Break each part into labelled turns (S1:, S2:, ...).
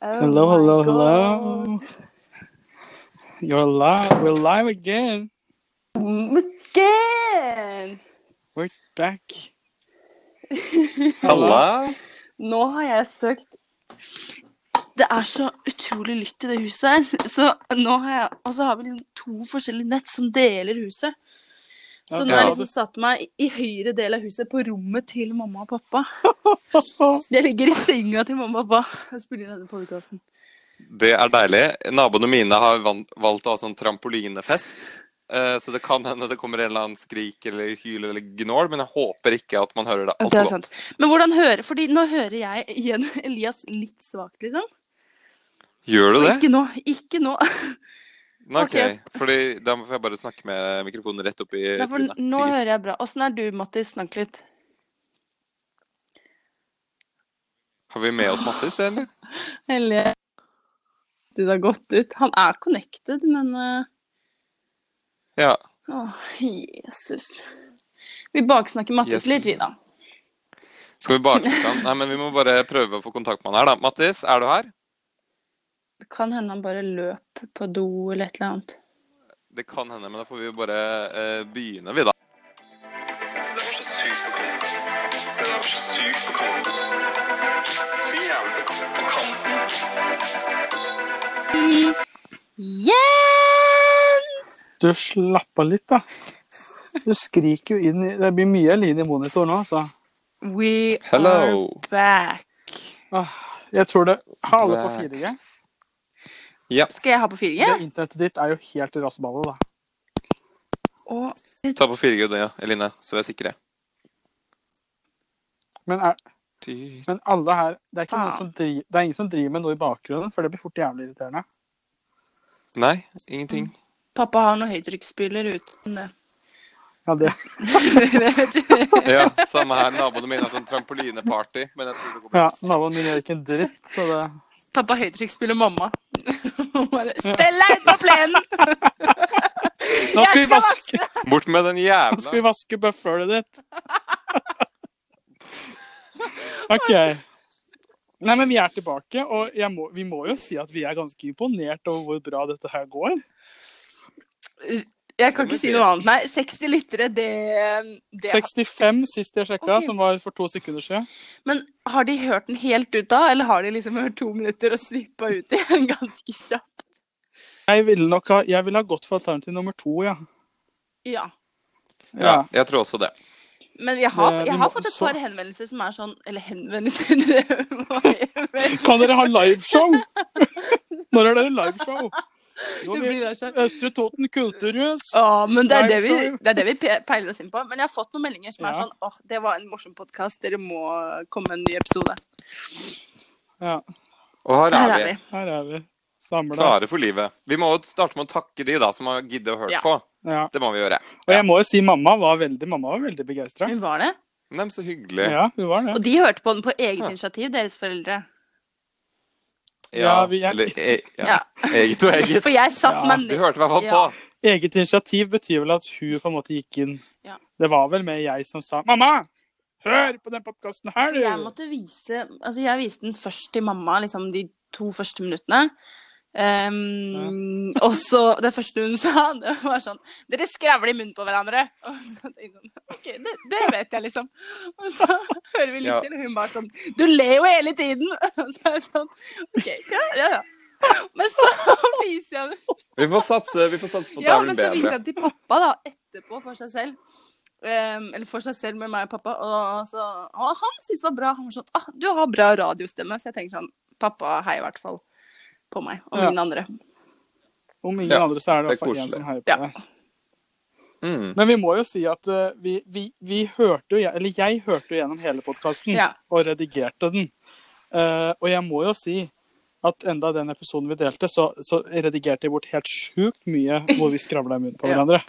S1: Oh
S2: Hello,
S1: my
S2: hello,
S1: god.
S2: hello. You're live. We're live again.
S1: Again!
S2: We're back. Halla.
S3: Halla!
S1: Nå har jeg søkt Det er så utrolig lytt i det huset her. Så nå har jeg Og så har vi liksom to forskjellige nett som deler huset. Så nå har
S3: Ja.
S1: jeg
S2: Ja,
S1: liksom
S2: du.
S1: satt meg i høyre del av huset, på rommet til mamma og pappa. Jeg ligger i senga til mamma og pappa og spiller inn denne podkasten.
S3: Det er deilig. Naboene mine har van- valgt å ha sånn trampolinefest. eh, Så det kan hende det kommer en eller annen skrik eller hyl eller gnål, men jeg håper ikke at man hører det
S1: Det er
S3: altfor
S1: sant.
S3: godt.
S1: Men hvordan hører Fordi nå hører jeg igjen Elias litt svakt, liksom.
S3: Gjør du
S1: Og
S3: det?
S1: ikke nå. Ikke nå.
S3: Nei,
S1: Ok,
S3: ok. Fordi da får jeg bare snakke med mikrofonen rett opp i
S1: Nei, for
S3: trynet.
S1: nå
S3: Eh, Sikkert.
S1: hører jeg bra. Åssen er du, Mattis? Snakk litt.
S3: Har vi med oss Mattis, eller?
S1: Eller Det har gått ut. Han er connected, men eh,
S3: Ja.
S1: Å, Jesus. Vi baksnakker Mattis
S3: Yes.
S1: litt, vi, da.
S3: Skal vi baksnakke han? Nei, men vi må bare prøve å få kontakt med han her, da. Mattis, er du her?
S1: Det kan hende han bare løp på do eller et eller annet.
S3: Det kan hende, men da får vi jo bare eh, begynne, vi, da. Det var så sykt på kanten. Det var så sykt på kanten. Så jævlig på kanten.
S1: Igjen!
S2: Du slapp av litt, da. Du skriker jo inn i Det blir mye lyd i monitor nå, altså. så
S1: We
S3: Hello.
S1: are back.
S2: ah, Jeg tror det Har alle på
S3: Back.
S2: 4G?
S3: Ja.
S1: Skal jeg ha på 4G?
S2: Det Internettet ditt er jo helt i rassballet, da.
S1: Og
S3: Ta på 4G, da, ja, Eline, så vi er sikre.
S2: Men, er, men alle her det er, ikke noen som
S1: faen.
S2: driver, det er ingen som driver med noe i bakgrunnen, for det blir fort jævlig irriterende.
S3: Nei, ingenting.
S1: Pappa har noen høytrykksspyler uten det.
S2: Ja, det.
S1: Det vet du.
S3: Ja, Samme her. Naboene mine har sånn trampolineparty. Men jeg tror det går bra.
S2: Ja, Naboen min gjør ikke en dritt, så det
S1: Pappa høytrykksspiller mamma. Og bare Stell deg ut på plenen!
S2: Nå skal vi
S1: Jeg skal
S2: vaske,
S3: Bort med den
S2: nå skal vi
S3: jævla
S2: vaske bøffelet ditt! OK. Nei, men vi er tilbake, og jeg må, vi må jo si at vi er ganske imponert over hvor bra dette her går.
S1: Jeg kan
S3: Det må
S1: ikke si
S3: jeg si.
S1: noe annet. Nei, 60 lyttere, det, det
S2: 65 sist jeg sjekka,
S1: Ok.
S2: som var for to sekunder siden.
S1: Men har de hørt den helt ut da, eller har de liksom hørt to minutter og svippa ut igjen ganske kjapt?
S2: Jeg ville nok ha, jeg ville ha gått for alternativ nummer to, ja.
S1: Ja.
S3: Ja, jeg tror også det.
S1: Men jeg har,
S2: Det- vi
S1: jeg har
S2: må-
S1: fått et
S2: så-
S1: par henvendelser som er sånn Eller henvendelser det var-
S2: Kan dere ha liveshow? Når er dere liveshow? Nå
S1: Det
S2: blir
S1: blir sånn
S2: Østre Toten kulturhus.
S1: Å, men det er det, vi,
S2: Liveshow.
S1: det er det vi pe- peiler oss inn på. Men jeg har fått noen meldinger som er
S2: Ja.
S1: sånn åh, det var en morsom podkast, dere må komme med en ny episode.
S2: Ja,
S3: Og her
S1: Her
S3: er
S1: er
S3: vi.
S1: vi.
S2: her er vi samla.
S3: Klare for livet. Vi må jo starte med å takke de da som har giddet å høre
S1: Ja.
S3: på.
S2: Ja.
S3: Det må vi gjøre.
S2: Og jeg må jo si mamma var veldig, mamma var veldig begeistra.
S1: Hun var det.
S3: Nei, men så hyggelig.
S2: Ja, hun var det.
S1: Og de hørte på den på eget
S3: Ja.
S1: initiativ, deres foreldre.
S2: Ja, vi- jeg-
S3: Eller e ja.
S1: Ja.
S3: eget og eget.
S1: For jeg satt
S2: Ja.
S1: meg
S3: Du
S1: ned
S3: hørte i hvert fall på.
S1: Ja.
S2: Eget initiativ betyr vel at hun på en måte gikk inn.
S1: Ja.
S2: Det var vel med jeg som sa 'Mamma, hør på den podkasten her,
S1: For jeg
S2: du!'
S1: måtte vise Altså, jeg viste den først til mamma, liksom de to første minuttene. Ehm, Og så det første hun sa, det var sånn Dere skravler i munnen på hverandre. Og så tenkte jeg sånn OK, det, det vet jeg, liksom. Og så hører vi litt
S3: Ja.
S1: til, og hun bare sånn Du ler jo hele tiden! Og så er jeg sånn OK, ja, ja, ja. Men så viser jeg
S3: Vi får satse, vi får satse på at det
S1: Ja,
S3: er
S1: men
S3: vel
S1: så viser
S3: bedre.
S1: jeg til pappa da, etterpå for seg selv. Ehm, eller for seg selv med meg og pappa. Og, så, og han syntes det var bra. Han var sånn ah, 'Du har bra radiostemme.' Så jeg tenker sånn Pappa heier i hvert fall på meg og
S2: Ja.
S1: mine andre.
S2: Om ingen
S3: Ja,
S2: andre, så er det i
S3: det er
S2: hvert fall én
S3: koselig.
S2: som heier på
S1: Ja.
S2: deg.
S3: Mm.
S2: Men vi må jo si at eh, vi, vi, vi hørte jo Eller jeg hørte jo gjennom hele podkasten
S1: Ja.
S2: og redigerte den. Eh, og jeg må jo si at enda den episoden vi delte, så, så redigerte jeg bort helt sjukt mye hvor vi skravla i munnen på
S1: Ja.
S2: hverandre.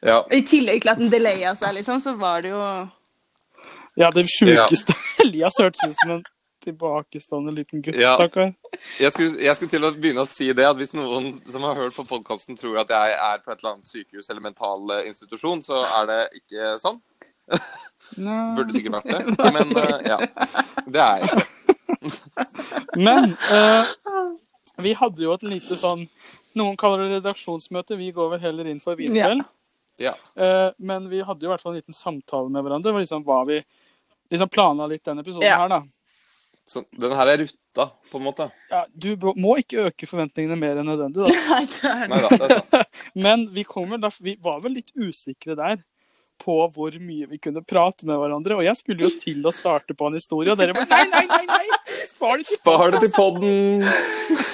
S3: Ja.
S1: Og I tillegg til at den delaya seg, liksom, så var det jo
S2: Ja, det sjukeste Elias hørtes ut som en tilbakestående liten gutt,
S3: Ja.
S2: stakkar.
S3: Jeg skulle, jeg skulle til å begynne å si det, at hvis noen som har hørt på podkasten tror at jeg er på et eller annet sykehus eller mental eh, institusjon, så er det ikke sånn. Burde
S2: Nei.
S3: sikkert vært det, men eh, ja. Det er jeg ikke.
S2: Men eh, Vi hadde jo et lite sånn Noen kaller det redaksjonsmøte, vi går vel heller inn for vinkveld.
S3: Ja.
S2: Eh, men vi hadde jo i hvert fall en liten samtale med hverandre. Hvor liksom var vi liksom planla litt den episoden
S1: Ja.
S2: her, da.
S3: Så den her er rutta, på en måte.
S2: Ja, du bro- må ikke øke forventningene mer enn nødvendig, da.
S1: Nei, det er
S3: Nei da, det er sant.
S2: Men vi, kommer, da, vi var vel litt usikre der på hvor mye vi kunne prate med hverandre. Og jeg skulle jo til å starte på en historie, og dere bare nei, nei, nei! nei, Spar det til
S3: Spar det til podden!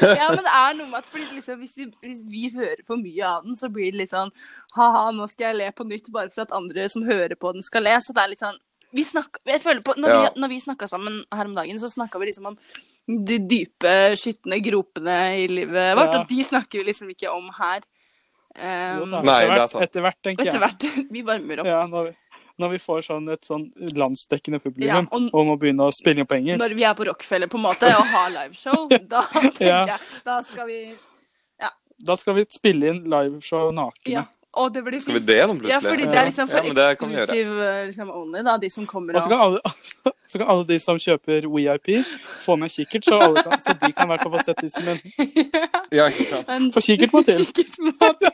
S1: Ja, men det er noe med at fordi liksom, hvis, vi, hvis vi hører for mye av den, så blir det litt sånn ha-ha, nå skal jeg le på nytt bare for at andre som hører på den, skal le. Så det er litt sånn vi snakka, jeg føler på, Når
S3: Ja.
S1: vi, når vi snakka sammen her om dagen, så snakka vi liksom om de dype, skitne gropene i livet vårt,
S2: Ja.
S1: og de snakker vi liksom ikke om her.
S2: Jo
S1: Um,
S2: da,
S3: Nei,
S2: etter
S3: det er
S2: hvert-
S3: sant.
S2: Etter hvert, tenker
S1: etter
S2: jeg.
S1: hvert. Vi varmer opp.
S2: Ja, når, vi, når vi får sånn et sånn landsdekkende publikum
S1: Ja, og-
S2: om å begynne å spille inn på engelsk.
S1: Når vi er på Rockefeller på en måte og har liveshow, da tenker
S2: Ja.
S1: jeg Da skal vi
S2: Da skal vi spille inn liveshow nakne.
S1: Ja. Og det blir
S3: Skal vi
S1: fint.
S3: det nå, plutselig?
S1: Ja, fordi det er liksom for
S3: Ja, men det kan vi gjøre.
S1: eksklusiv eh, liksom, only, da, de som kommer
S2: Og så kan, alle, så kan alle de som kjøper WeIP, få med en kikkert, så, alle kan, så de kan i hvert fall få sett tissen min.
S3: Ja, ikke sant.
S1: En
S2: Få kikkert på til.
S1: kikkert må til.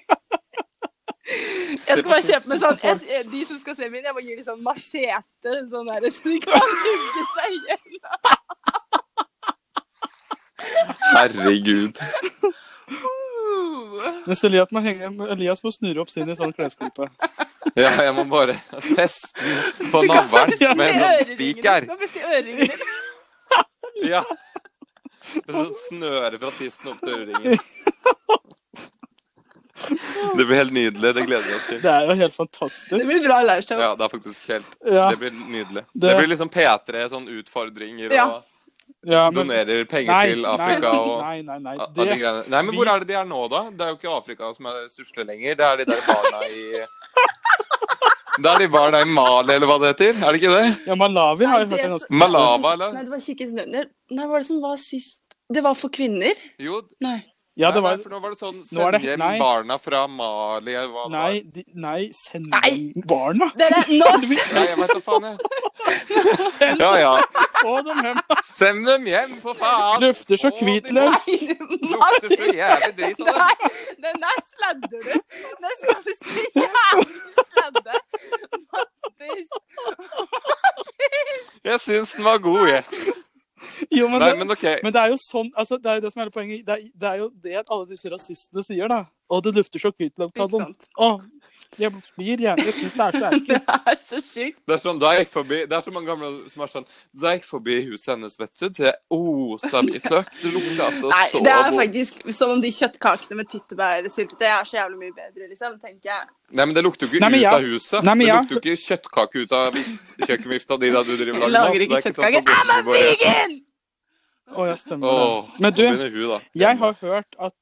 S1: Jeg
S3: Se
S1: skal
S3: på
S1: bare kjøpe meg
S3: tissen
S1: sånn
S3: til folk.
S1: jeg, jeg- De som skal se min, jeg må gi dem sånn machete, sånn der, så de kan hugge seg igjen.
S3: Herregud.
S2: Mens Elias må, henge, Elias må snurre opp sin i sånn klesklype.
S3: Ja, jeg må bare feste den på navlen med en sånn spiker.
S1: Du kan feste øreringene.
S3: Ja. Det er sånn snøre fra tissen opp til øreringen. Det blir helt nydelig. Det gleder vi oss til.
S2: Det er jo helt
S1: Det
S2: fantastisk.
S1: blir bra liveshow.
S3: Ja, det er faktisk helt
S2: Ja,
S3: Det blir nydelig.
S2: Det-
S3: Det blir liksom P3, sånn utfordringer og
S1: Ja.
S2: ja, men,
S3: donerer penger
S2: nei,
S3: til
S2: nei,
S3: Afrika og
S2: nei, nei, nei.
S3: a- alle de
S2: Det,
S3: greiene. Nei, men
S2: vi-
S3: hvor er det de er nå, da? Det er jo ikke Afrika som er stusslig lenger. Det er de der barna i Det er de barna i Mali, eller hva det heter. Er det ikke det?
S2: ja, Malawi har
S1: Nei,
S2: jo hørt
S1: det
S2: en
S1: som-
S2: ganske
S3: Malava, eller?
S1: Nei, det var Kikkens nødner. Nei, hva var det som var sist? Det var for kvinner?
S3: Jo,
S1: Nei.
S2: Ja, det
S3: nei, nei,
S2: var
S3: for nå var det sånn
S2: Nå er
S3: Send
S2: det-
S3: hjem
S2: nei.
S3: barna fra Mali, eller hva det var.
S2: Nei, de, nei send
S1: Nei.
S2: dem barna!
S1: Dere, nå
S3: Nei, jeg vet da faen, jeg. Ja, ja.
S2: Få dem hjem!
S3: Send dem hjem, for faen!
S2: Lufter så
S3: Å, de
S2: hvitløk!
S1: Nei,
S3: Lukter så jævlig drit av det.
S1: Nei, den der sladder du. Den skal du si jævlig sladde. Mattis.
S3: Jeg syns den var god, jeg.
S2: Jo, men,
S3: Nei,
S2: det-
S3: men OK.
S2: Men det er jo sånn, altså det er jo det som er hele poenget. Det er, det er jo det at alle disse rasistene sier, da. Og det lufter så hvitløk av
S1: Ikke
S2: dem.
S1: sant.
S2: Å, jeg blir gjerne Jeg synes det er så
S1: Det
S2: ekkelt.
S1: er så sykt.
S3: Det er, sånn, da jeg gikk forbi, det er så mange gamle som er sånn Da jeg gikk forbi huset hennes, vet du, oh, det osa hvitløk. Det lukter altså
S1: Nei,
S3: så
S1: det er
S3: god.
S1: faktisk som om de kjøttkakene med tyttebærsyltetøy er så jævlig mye bedre, liksom, tenker jeg.
S3: Nei, men det lukter jo ikke
S2: Nei, men
S3: ut
S2: ja.
S3: av huset.
S2: Nei, men
S3: det
S2: ja.
S3: lukter jo ikke kjøttkake ut av vif- kjøkkenvifta di da du driver og
S1: Lager
S3: mat.
S1: ikke
S3: Det er
S1: kjøttkaker.
S3: sånn at du bare-
S1: Vegan!
S2: Å, jeg stemmer.
S3: Åh,
S2: det. Men
S3: nå
S2: du,
S3: begynner hun, da.
S2: jeg har hørt at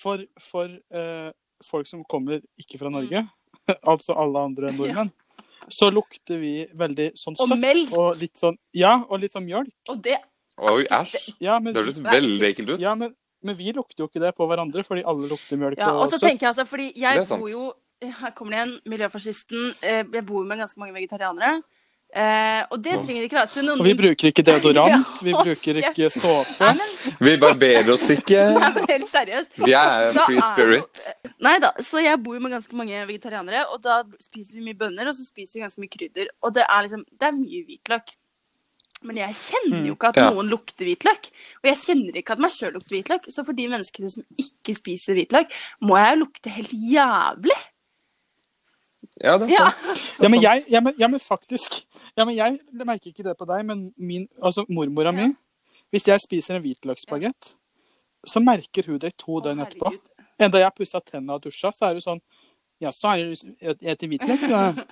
S2: for, for eh, folk som kommer ikke fra Norge,
S1: Mm.
S2: altså alle andre nordmenn, så lukter vi veldig sånn
S1: Og
S2: søtt.
S1: melk.
S2: Og litt sånn Ja, og litt sånn mjølk.
S1: Og det
S3: Oi, æsj.
S2: Ja, men,
S3: Det høres
S2: vi-
S3: veldig ekkelt ut.
S2: ja, men, men vi lukter jo ikke det på hverandre, fordi alle lukter mjølk
S1: Ja, og
S2: og
S1: så
S2: søtt.
S1: tenker jeg altså, fordi
S3: Det
S1: jeg
S3: er sant.
S1: bor jo Her kommer det igjen, miljøfascisten. Eh, Jeg bor med ganske mange vegetarianere. Eh, og det trenger det ikke være. Så noen
S2: Og vi bruker ikke deodorant, vi
S1: Ja, å,
S2: bruker
S1: kjeft.
S2: ikke såpe.
S1: Nei, men,
S3: Vi barberer oss
S1: nei,
S3: ikke.
S1: men helt seriøst.
S3: Vi
S1: Da
S3: er en free
S1: er
S3: spirit.
S1: jo- Nei da. Så jeg bor jo med ganske mange vegetarianere, og da spiser vi mye bønner, og så spiser vi ganske mye krydder. Og det er liksom Det er mye hvitløk. Men jeg kjenner
S2: Mm,
S1: jo ikke at
S3: Ja.
S1: noen lukter hvitløk. Og jeg kjenner ikke at meg sjøl lukter hvitløk. Så for de menneskene som ikke spiser hvitløk, må jeg jo lukte helt jævlig.
S3: Ja, det er
S1: Ja.
S3: sant.
S2: Ja,
S1: sånn.
S2: men jeg, ja, men, ja, men faktisk ja, men Jeg merker ikke det på deg, men min, altså mormora mi Hvis jeg spiser en hvitløksbagett, så merker hun det i to
S1: Å,
S2: døgn etterpå.
S1: herregud.
S2: Enda jeg pussa tenna og dusja, så er hun sånn Ja, så er du etter hvitløk? da?»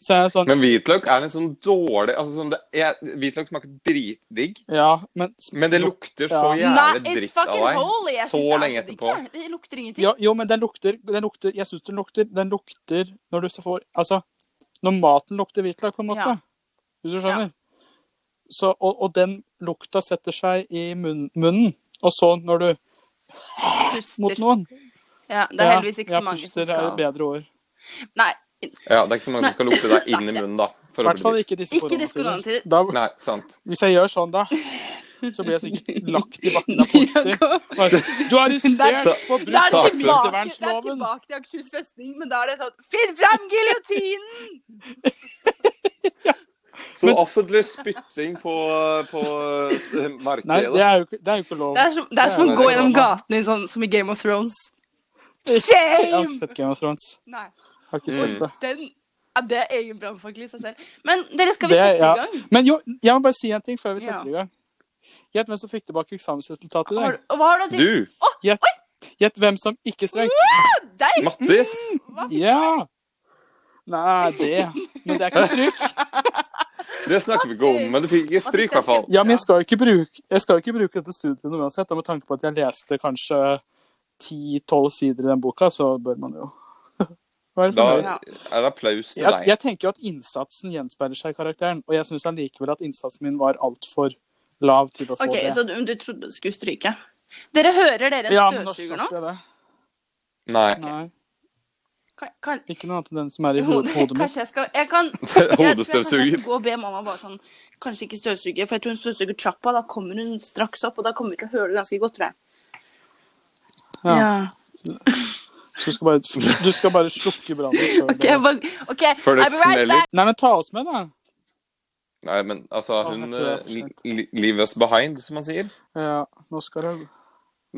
S2: Så er jeg sånn
S3: Men hvitløk er en sånn dårlig altså sånn det, jeg, Hvitløk smaker dritdigg,
S2: Ja, men
S3: men det lukter så
S2: Ja.
S3: jævlig
S1: Nei, it's
S3: dritt av
S1: fucking holy.
S3: deg
S1: Jeg synes
S3: så
S1: det er
S3: lenge
S1: så digg,
S3: etterpå.
S1: jeg. Det lukter ingenting.
S2: ja, Jo, men den lukter, den lukter Jeg syns den lukter Den lukter når du så får Altså, når maten lukter hvitløk, på en måte.
S1: Ja.
S2: Hvis du skjønner? Så, og, og den lukta setter seg i munn, munnen. Og så når du
S1: Puster.
S2: mot noen.
S1: Ja, det er
S2: Ja,
S1: heldigvis ikke
S2: ja,
S1: så mange som
S2: puster er et
S1: skal
S2: bedre ord.
S1: Nei,
S3: Ja, det er ikke så mange som skal lukte deg inn i munnen, da.
S2: I hvert fall
S3: Forhåpentligvis.
S2: ikke disse
S1: ikke disse
S2: koronatider.
S1: koronatider.
S2: Da,
S3: Nei, sant.
S2: hvis jeg gjør sånn, da så blir jeg sikkert lagt i vakta av politiet. Du er arrestert
S3: Så-
S1: Da
S2: på brudd
S1: er det tilbake, det er
S2: saksøkervernloven.
S1: tilbake til Akershus festning, men da er det sånn Finn fram giljotinen!
S3: Så
S2: Men-
S3: offentlig spytting på, på eh,
S2: Nei,
S3: markedet.
S2: det er jo ikke, det er jo ikke lov.
S1: Det er som, det er som å
S3: Ja,
S1: gå
S3: det er
S1: gjennom
S3: gammel.
S1: gatene i sånn, som i Game of Thrones.
S2: Jeg har ikke
S1: Shame!
S2: sett Game of Thrones.
S1: Nei,
S2: Har ikke sett
S3: Mm.
S2: det.
S1: den, ja, det er egen brannfakkel i seg selv. altså. Men dere, skal vi
S2: Det-
S1: sette
S2: ja.
S1: i gang?
S2: Men jo, jeg må bare si en ting før vi
S1: Ja.
S2: setter i gang. Gjett hvem som fikk tilbake eksamensresultatet i
S1: Har,
S2: dag.
S1: du- og hva har du tenkt?
S3: Du,
S2: Gjett hvem som ikke strøk.
S1: Deg?
S3: Mattis!
S1: Hva?
S2: Ja! Nei, det Men det er ikke stryk.
S3: Det snakker vi ikke om, men du fikk ikke stryk, i hvert fall.
S2: Ja, men jeg skal jo ikke bruke, jeg skal jo ikke bruke dette studiet til noe uansett. Og med tanke på at jeg leste kanskje 10-12 sider i den boka, så bør man jo være
S3: Da
S2: fornøyd.
S1: Ja.
S3: er det applaus til
S2: Jeg,
S3: deg.
S2: jeg tenker jo at innsatsen gjenspeiler seg i karakteren, og jeg syns allikevel at innsatsen min var altfor lav til å få
S1: OK,
S2: det.
S1: så du, du trodde du skulle stryke. Dere hører dere en
S2: ja, men nå
S1: støvsuger nå?
S2: slapp jeg det.
S3: Nei.
S2: Nei,
S1: Kan, kan,
S2: ikke noe annet enn den som er i hodet, hodet mitt.
S1: kanskje jeg skal Jeg kan Jeg tror jeg kanskje jeg
S3: Hodestøvsuger.
S1: skal gå og be mamma bare sånn Kanskje ikke støvsuge, for jeg tror hun støvsuger trappa. Da kommer hun straks opp, og da kommer vi til å høre det ganske godt, tror jeg.
S2: Ja. Du skal bare, du skal bare slukke brannen. før
S1: OK,
S2: det-
S1: jeg bare, ok,
S3: Før det
S1: I'll be right
S3: smeller.
S1: back.
S2: Nei, men ta oss med, da.
S3: Nei, men altså,
S2: Å,
S3: hun
S2: jeg tror jeg
S3: eh, li- li- Leave us behind, som man sier.
S2: Ja, nå skal det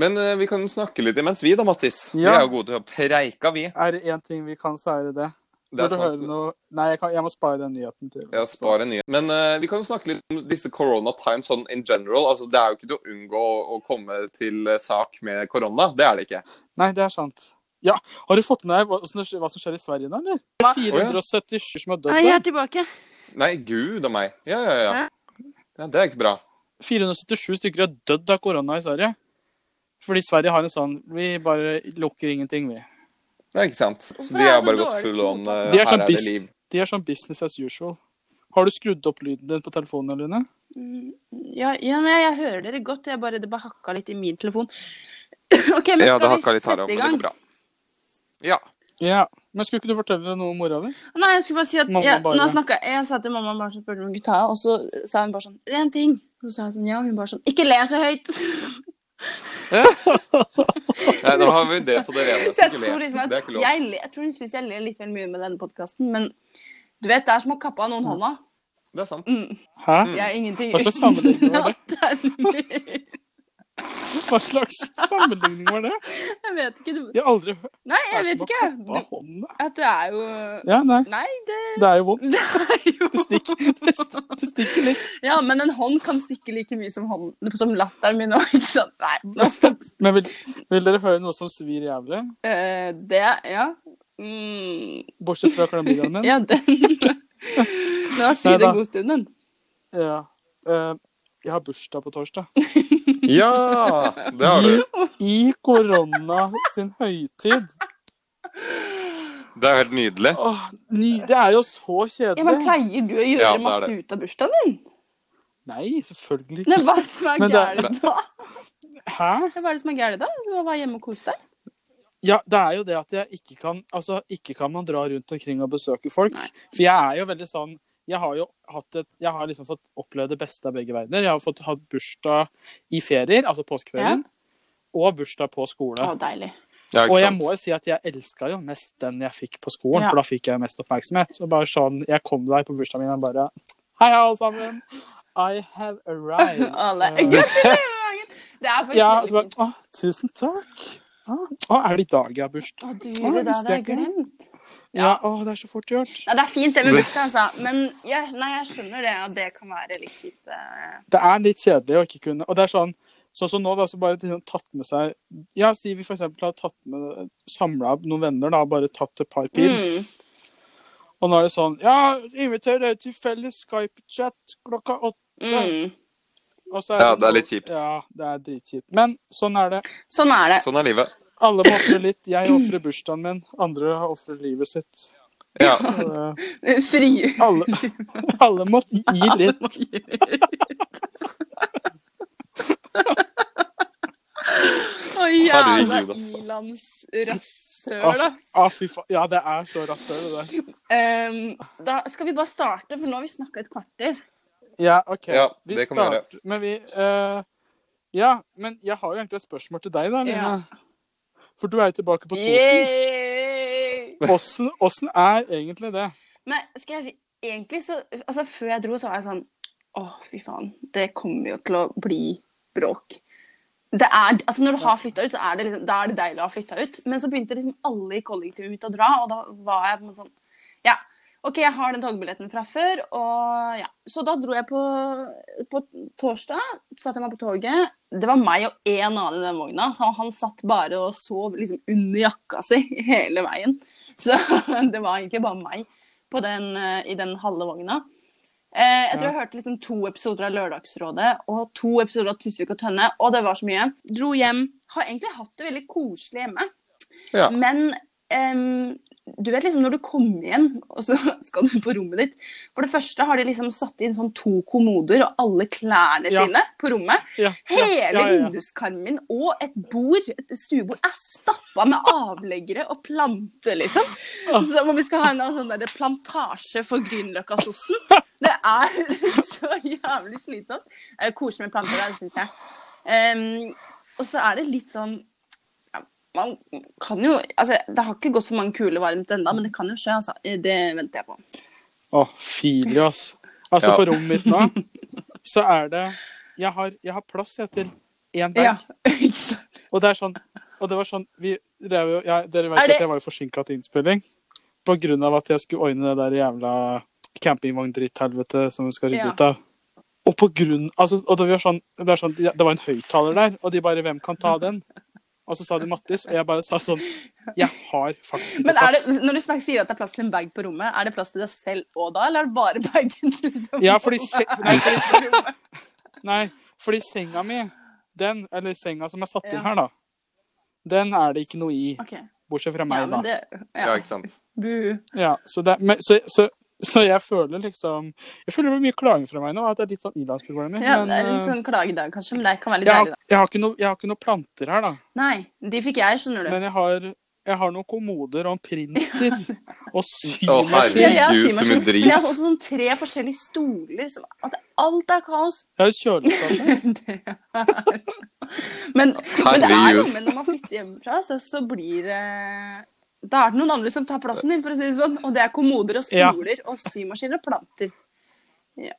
S3: Men eh, vi kan snakke litt imens, vi da, Mattis. Vi
S2: Ja.
S3: er jo gode til å preika, vi.
S2: Er det én ting vi kan, så er det det.
S3: Det er
S2: Vil du høre
S3: sant.
S2: noe? Nei, jeg, kan, jeg må spare den nyheten til.
S3: Jeg sparer nyhet. Men eh, vi kan jo snakke litt om disse corona times sånn in general. Altså, det er jo ikke til å unngå å, å komme til eh, sak med korona. Det er det ikke.
S2: Nei, det er sant. Ja, Har du fått med deg hva, hvordan det skjer- hva som skjer i Sverige nå, eller?
S1: Hva?
S2: 477 som har dødd
S1: Nei, jeg
S2: der.
S1: er tilbake.
S3: Nei, gud a meg. Ja, ja, ja. ja det er ikke bra.
S2: 477 stykker har dødd av korona i Sverige. Fordi Sverige har en sånn Vi bare lukker ingenting, vi.
S3: Det er ikke sant. Så
S1: Hvorfor
S3: de
S1: er
S3: har
S1: det så
S3: bare gått
S1: dårlig
S3: full
S1: på
S3: on.
S1: mottaket?
S3: eh,
S2: De er
S3: her
S2: sånn
S3: er det
S2: bis-
S3: liv.
S2: De er sånn business as usual. Har du skrudd opp lyden din på telefonen, Line?
S1: Mm, Ja, ja nei, jeg hører dere godt. Jeg bare, det bare hakka litt i min telefon. OK, men
S3: Ja,
S1: skal
S3: det
S1: vi
S3: hakka litt her
S1: sette i
S3: òg, men det
S1: gang?
S3: går bra. Ja.
S2: Ja. Men skulle ikke du fortelle noe om mora di?
S1: Nei, jeg skulle bare si at
S2: Mamma
S1: jeg,
S2: bare-
S1: nå snakket, jeg sa til mamma bare så spurte hun om gutta, og så sa hun bare sånn én ting. Så sa jeg sånn ja, og hun bare sånn ikke le så høyt.
S3: Nei, da har vi det på det rene.
S1: Så
S3: Så
S1: jeg
S3: ikke
S1: tror
S3: le.
S1: liksom at
S3: Det er ikke lov.
S1: jeg, le- jeg tror hun syns jeg ler litt vel mye med denne podkasten, men du vet, det er som å kappe av noen hånda.
S3: Det er sant.
S1: Mm,
S2: Hæ?
S1: jeg er ingenting
S2: Hva slags sammenligning var det?
S1: det?
S2: Hva slags sammenligning var det?
S1: Jeg vet ikke. du-
S2: Jeg har aldri hørt
S1: Nei, jeg
S2: det
S1: vet
S2: som å
S1: ikke.
S2: kappe av
S1: Du-
S2: hånda.
S1: At det er jo
S2: Ja, nei.
S1: Nei, det
S2: Det er jo vondt.
S1: det er jo
S2: Det stikker, det st- det stikker litt.
S1: Ja, men en hånd kan stikke like mye som, hånd, som latteren min òg, ikke sant? Nei, nå stopp.
S2: Men vil, vil dere høre noe som svir jævlig?
S1: Eh, det Ja. Mm,
S2: Bortsett fra klamydiaen min?
S1: ja, den Nå
S2: Nei
S1: syr det
S2: da.
S1: en god stund, den.
S2: Ja. Eh, jeg har bursdag på torsdag.
S3: Ja! Det har du.
S2: I korona sin høytid.
S3: Det er helt nydelig.
S2: Åh, ny, det er jo så
S1: Ja, men
S2: kjedelig.
S1: Pleier du å gjøre
S3: Ja, det er
S1: masse
S3: det.
S1: ut av bursdagen din?
S2: Nei, selvfølgelig
S1: Nei,
S2: ikke.
S1: hva er det som er
S2: Men det er-
S1: gærent da?
S2: Hæ?
S1: Hva er det som er gærent da? Du må være hjemme og kose deg.
S2: Ja, det er jo det at jeg ikke kan Altså, ikke kan man dra rundt omkring og besøke folk.
S1: Nei.
S2: For jeg er jo veldig sånn Jeg har jo hatt et Jeg har liksom fått opplevd det beste av begge verdener. Jeg har fått hatt bursdag i ferier, altså påskeferien, og bursdag på skole.
S1: Å, deilig.
S3: Ja,
S2: Og
S3: ikke
S2: jeg
S3: sant.
S2: må jo si at jeg elska jo mest den jeg fikk på skolen,
S1: Ja.
S2: for da fikk jeg jo mest oppmerksomhet. Og bare sånn, Jeg kom der på bursdagen min og bare Hei, alle sammen! I have arrived.
S1: Alle.
S2: Eh,
S1: Gratulerer med dagen! Det er faktisk
S2: ja,
S1: veldig
S2: så bare,
S1: fint.
S2: å, tusen takk. Å, å, er det i dag jeg har bursdag?
S1: Å, du,
S2: Å,
S1: det der
S2: visste
S1: hadde
S2: jeg
S1: jeg
S2: ikke.
S1: glemt.
S2: Ja, å, det er så fort gjort.
S1: Nei, det er fint det med bursdag, altså. Men jeg, nei, jeg skjønner det at det kan være litt kjipt. eh.
S2: Det er litt kjedelig å ikke kunne Og det er sånn Sånn som nå, da, så bare liksom tatt med seg Ja, si vi for eksempel har tatt med Samla noen venner, da, og bare tatt et par pils. Og nå er det sånn Ja, inviter dere til felles Skype-chat klokka åtte.
S1: Mm.
S2: Og så
S3: Ja, det er litt kjipt.
S2: Ja, det er dritkjipt. Men sånn er det.
S1: Sånn er det.
S3: Sånn er livet.
S2: Alle må ofre litt. Jeg ofrer bursdagen min, andre har ofret livet sitt.
S3: Ja.
S2: Så, eh,
S1: Fri.
S2: Alle, alle må gi litt.
S1: Å, jævla
S3: Herregud, altså.
S1: ilands
S2: Å,
S1: rasshøl,
S2: fy-
S1: ass.
S2: å, fy faen. Ja, det er så rasshøl, det der.
S1: Ehm, da skal vi bare starte, for nå har vi snakka et kvarter.
S2: Ja, OK.
S3: Ja, det kan vi gjøre.
S2: starter- Men vi eh, Ja, men jeg har jo egentlig et spørsmål til deg, da, Lene.
S1: Ja.
S2: For du er jo tilbake på Toten.
S1: Yay!
S2: Åssen åssen er egentlig det?
S1: Men skal jeg si, egentlig så Altså, før jeg dro, så var jeg sånn Å, fy faen. Det kommer jo til å bli bråk. Det er, altså når du har flytta ut, så er det, liksom, da er det deilig å ha flytta ut. Men så begynte liksom alle i kollektivet mitt å dra, og da var jeg på en måte sånn Ja, OK, jeg har den togbilletten fra før, og ja. Så da dro jeg på, på torsdag. Satt jeg meg på toget. Det var meg og én annen i den vogna. Så han satt bare og sov liksom under jakka si hele veien. Så det var egentlig bare meg på den, eh, i den halve vogna. Eh, jeg tror
S2: Ja.
S1: jeg hørte liksom to episoder av Lørdagsrådet og to episoder av Tusvik og Tønne, og det var så mye. Dro hjem. Har egentlig hatt det veldig koselig hjemme.
S3: Ja.
S1: Men em, du vet liksom når du kommer hjem, og så skal du på rommet ditt For det første har de liksom satt inn sånn to kommoder og alle klærne
S2: Ja.
S1: sine på rommet.
S2: Ja, ja,
S1: Hele
S2: ja, ja, ja.
S1: vinduskarmen min og et bord, et stuebord, er stappa med avleggere og planter, liksom. Som om vi skal ha en eller annen sånn der plantasje for Grünerløkka-sossen. Det er så jævlig slitsomt. Det er jo koselig med planter der, syns jeg. Ehm, og så er det litt sånn ja, man kan jo, altså, Det har ikke gått så mange kuler varmt ennå, men det kan jo skje. altså. Det venter jeg på.
S2: Å, fili, ass. Altså,
S3: Ja.
S2: på rommet mitt nå, så er det Jeg har, jeg har plass jeg, til én bag.
S1: Ja, ikke sant?
S2: Og det er sånn Og det var sånn vi, det er jo, jeg, Dere vet
S1: Er det-
S2: at jeg var jo forsinka til innspilling. På grunn av at jeg skulle ordne det der jævla campingvogndritthelvete som vi skal rydde
S1: Ja.
S2: ut av. Og på grunn altså, og det, var sånn, det, er sånn, det var en høyttaler der, og de bare 'Hvem kan ta den?' Og så sa de Mattis, og jeg bare sa sånn Jeg har faktisk ikke
S1: Men er
S2: plass.
S1: det, når du snakker, sier at det er plass til en bag på rommet, er det plass til deg selv og da, eller er det bare bagen? Liksom?
S2: Ja, fordi se, nei,
S1: På rommet?
S2: Nei, fordi senga mi, den, eller senga som er satt
S1: Ja.
S2: inn her, da, den er det ikke noe i.
S1: Ok.
S2: Bortsett fra
S1: Ja,
S2: meg,
S1: men
S2: da.
S1: det
S3: Ja,
S1: ja.
S3: ikke sant.
S1: Bu.
S2: Ja, så, det, men, så, så, så jeg føler liksom Jeg føler det blir mye klaging fra meg nå, at det er litt sånn ilandsproblemer.
S1: Ja,
S2: men
S1: det er litt
S2: eh,
S1: sånn klagedag, kanskje, men det kan være litt
S2: jeg, har,
S1: deilig, da.
S2: jeg, har ikke noe, jeg har ikke noe planter her, da.
S1: Nei, de fikk jeg, skjønner du.
S2: Men jeg har, jeg har noen kommoder og en printer og
S3: Å, herregud.
S2: symaskin.
S1: Ja, jeg har
S3: Gud,
S1: symaskin,
S3: som en drit.
S1: Men jeg har også sånn tre forskjellige stoler. Som, at alt er kaos.
S2: Jeg har et kjøleskap.
S1: Det er- men, men det er
S3: Herregud.
S1: noe med når man flytter hjemmefra, så, så blir det Da er det noen andre som tar plassen din, for å si det sånn. Og det er kommoder og
S2: Ja.
S1: stoler og symaskiner og planter.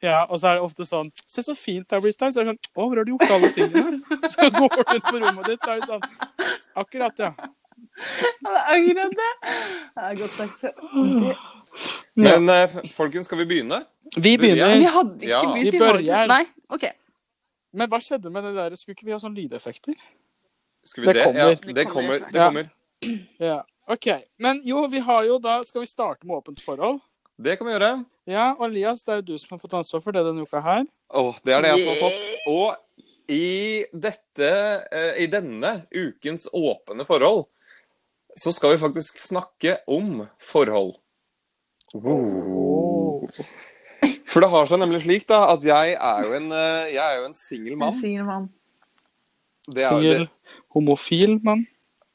S2: Ja, og så er det ofte sånn Se så fint det er blitt her. Så er det sånn Å, hvor har du gjort alle tingene? Så går du ut på rommet ditt, så er det sånn Akkurat, ja.
S1: Ja, det er akkurat det. Det er godt sagt.
S3: Men eh, folkens, skal vi begynne?
S2: Vi
S3: Vi-
S2: begynner.
S1: Vi hadde ikke
S3: Ja.
S1: begynt. var
S2: Vi
S1: ikke-
S2: børjer.
S1: Nei, OK.
S2: Men hva skjedde med det der? Skulle ikke vi ha sånn lydeffekter?
S3: Skal vi
S2: Det
S3: det?
S2: kommer.
S3: Ja, det kommer.
S1: Det kommer, tror jeg.
S3: Det kommer.
S2: Ja. OK. Men jo, vi har jo da Skal vi starte med åpent forhold?
S3: Det kan vi gjøre.
S2: Ja, og Elias, det er jo du som har fått ansvar for det denne uka her.
S3: Åh, det er det jeg som har fått. Og i, dette, eh, i denne ukens åpne forhold, så skal vi faktisk snakke om forhold.
S2: Oh.
S3: For det har seg nemlig slik da, at jeg er jo en, eh, jeg er jo en singel mann. Det er jo
S2: Singel, homofil mann.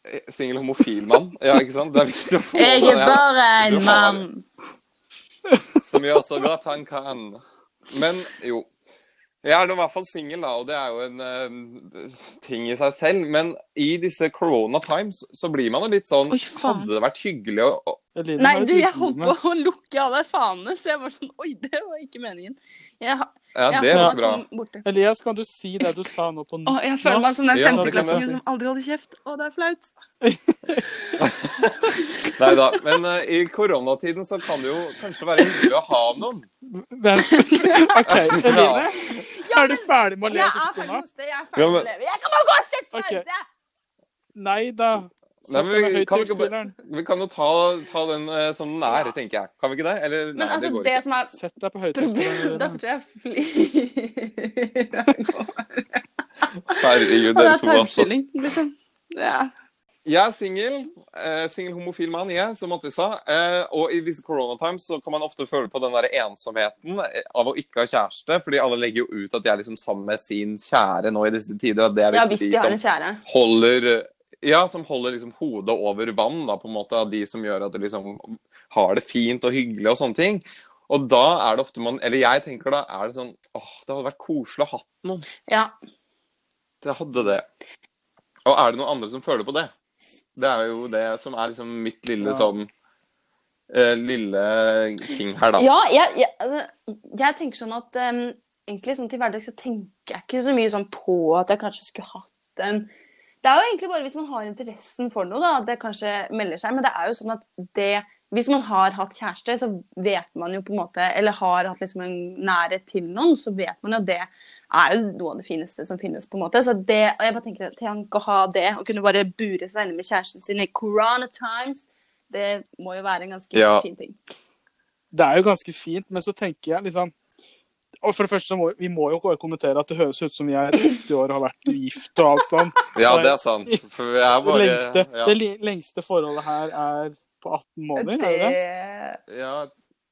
S3: det- eh, Singel homofil mann. Ja, ikke sant? Det er viktig å få
S1: Jeg
S3: med
S1: er
S3: det.
S1: bare en
S3: Du har-
S1: mann.
S3: Som gjør så godt han kan. Men jo. Jeg er nå i hvert fall singel, da, og det er jo en eh, ting i seg selv. Men i disse corona times så blir man jo litt sånn
S1: Oi, faen.
S3: Hadde det vært hyggelig å å-
S2: Eline,
S1: Nei,
S2: hva er
S1: du,
S2: det
S1: jeg
S2: driver
S1: holdt
S2: med?
S1: på å lukke alle fanene, så jeg var sånn Oi, det var ikke meningen. Jeg, har-
S3: Ja,
S1: jeg
S3: det var
S1: holdt
S3: ikke bra.
S1: på å borte.
S2: Elias, kan du si det du sa nå på
S1: Å,
S2: nytt?
S1: jeg føler meg som den
S3: Ja, det kan jeg
S1: femteklassingen
S3: si.
S1: som aldri holder kjeft. Å, det er flaut.
S3: Nei da. Men eh, i koronatiden så kan det jo kanskje være hyggelig å ha noen.
S2: Vent. OK, Eline. Er du ferdig med å le
S1: Jeg
S2: på
S1: er ferdig
S2: skona?
S1: med hoste, jeg er
S3: Ja,
S1: ferdig med
S3: men-
S1: å leve. Jeg kan bare gå og sette meg
S2: Ok.
S1: ute!
S2: Nei da.
S3: Nei,
S2: Sett
S3: men
S2: deg
S3: vi,
S2: høyt
S3: kan
S2: i
S3: vi, ikke, bare-
S2: høyttaleren.
S3: vi kan jo ta, ta den eh, som den er, tenker jeg. Kan vi ikke det? Eller nei,
S1: Men altså,
S3: det går
S1: det
S3: ikke.
S1: som er
S2: Sett deg på
S1: problemet Da
S2: høyttaleren.
S1: tror jeg flyr av gårde.
S3: Herregud,
S1: Og det er
S3: dere to, altså.
S1: tarmskylling, liksom. Ja.
S3: Jeg er singel. Eh, singel homofil mann, jeg, som Mattis sa. Eh, og i disse coronatimes så kan man ofte føle på den der ensomheten eh, av å ikke ha kjæreste. Fordi alle legger jo ut at de er liksom sammen med sin kjære nå i disse tider. At det er
S1: ja,
S3: liksom
S1: hvis de
S3: de
S1: har en
S3: som
S1: kjære.
S3: holder ja, som holder liksom hodet over vann, da, på en måte. Av de som gjør at du liksom har det fint og hyggelig og sånne ting. Og da er det ofte man Eller jeg tenker da er det sånn åh, det hadde vært koselig å ha hatt noen.
S1: Ja.
S3: Det hadde det. Og er det noen andre som føler på det? Det er jo det som er liksom mitt lille
S2: Ja.
S3: sånn eh, Lille ting her, da.
S1: Ja, jeg, jeg, altså, jeg tenker sånn at em, egentlig sånn til hverdags så tenker jeg ikke så mye sånn på at jeg kanskje skulle hatt en Det er jo egentlig bare hvis man har interessen for noe, da, at det kanskje melder seg. Men det er jo sånn at det Hvis man har hatt kjæreste, så vet man jo på en måte Eller har hatt liksom en nærhet til noen, så vet man jo at det er jo noe av det fineste som finnes, på en måte. Så det Og jeg bare tenker at tenk å ha det, å kunne bare bure seg inne med kjæresten sin i corona times, det må jo være en ganske
S3: Ja.
S1: fin ting.
S2: Det er jo ganske fint, men så tenker jeg liksom og for det første, så må, Vi må jo bare kommentere at det høres ut som vi er 80 år og har vært gift og alt sånn.
S3: Ja, det er sant. For vi er
S2: Det
S3: bare
S2: lengste,
S3: ja,
S2: det li lengste forholdet her er på 18 måneder. er det det?
S1: Det
S3: ja,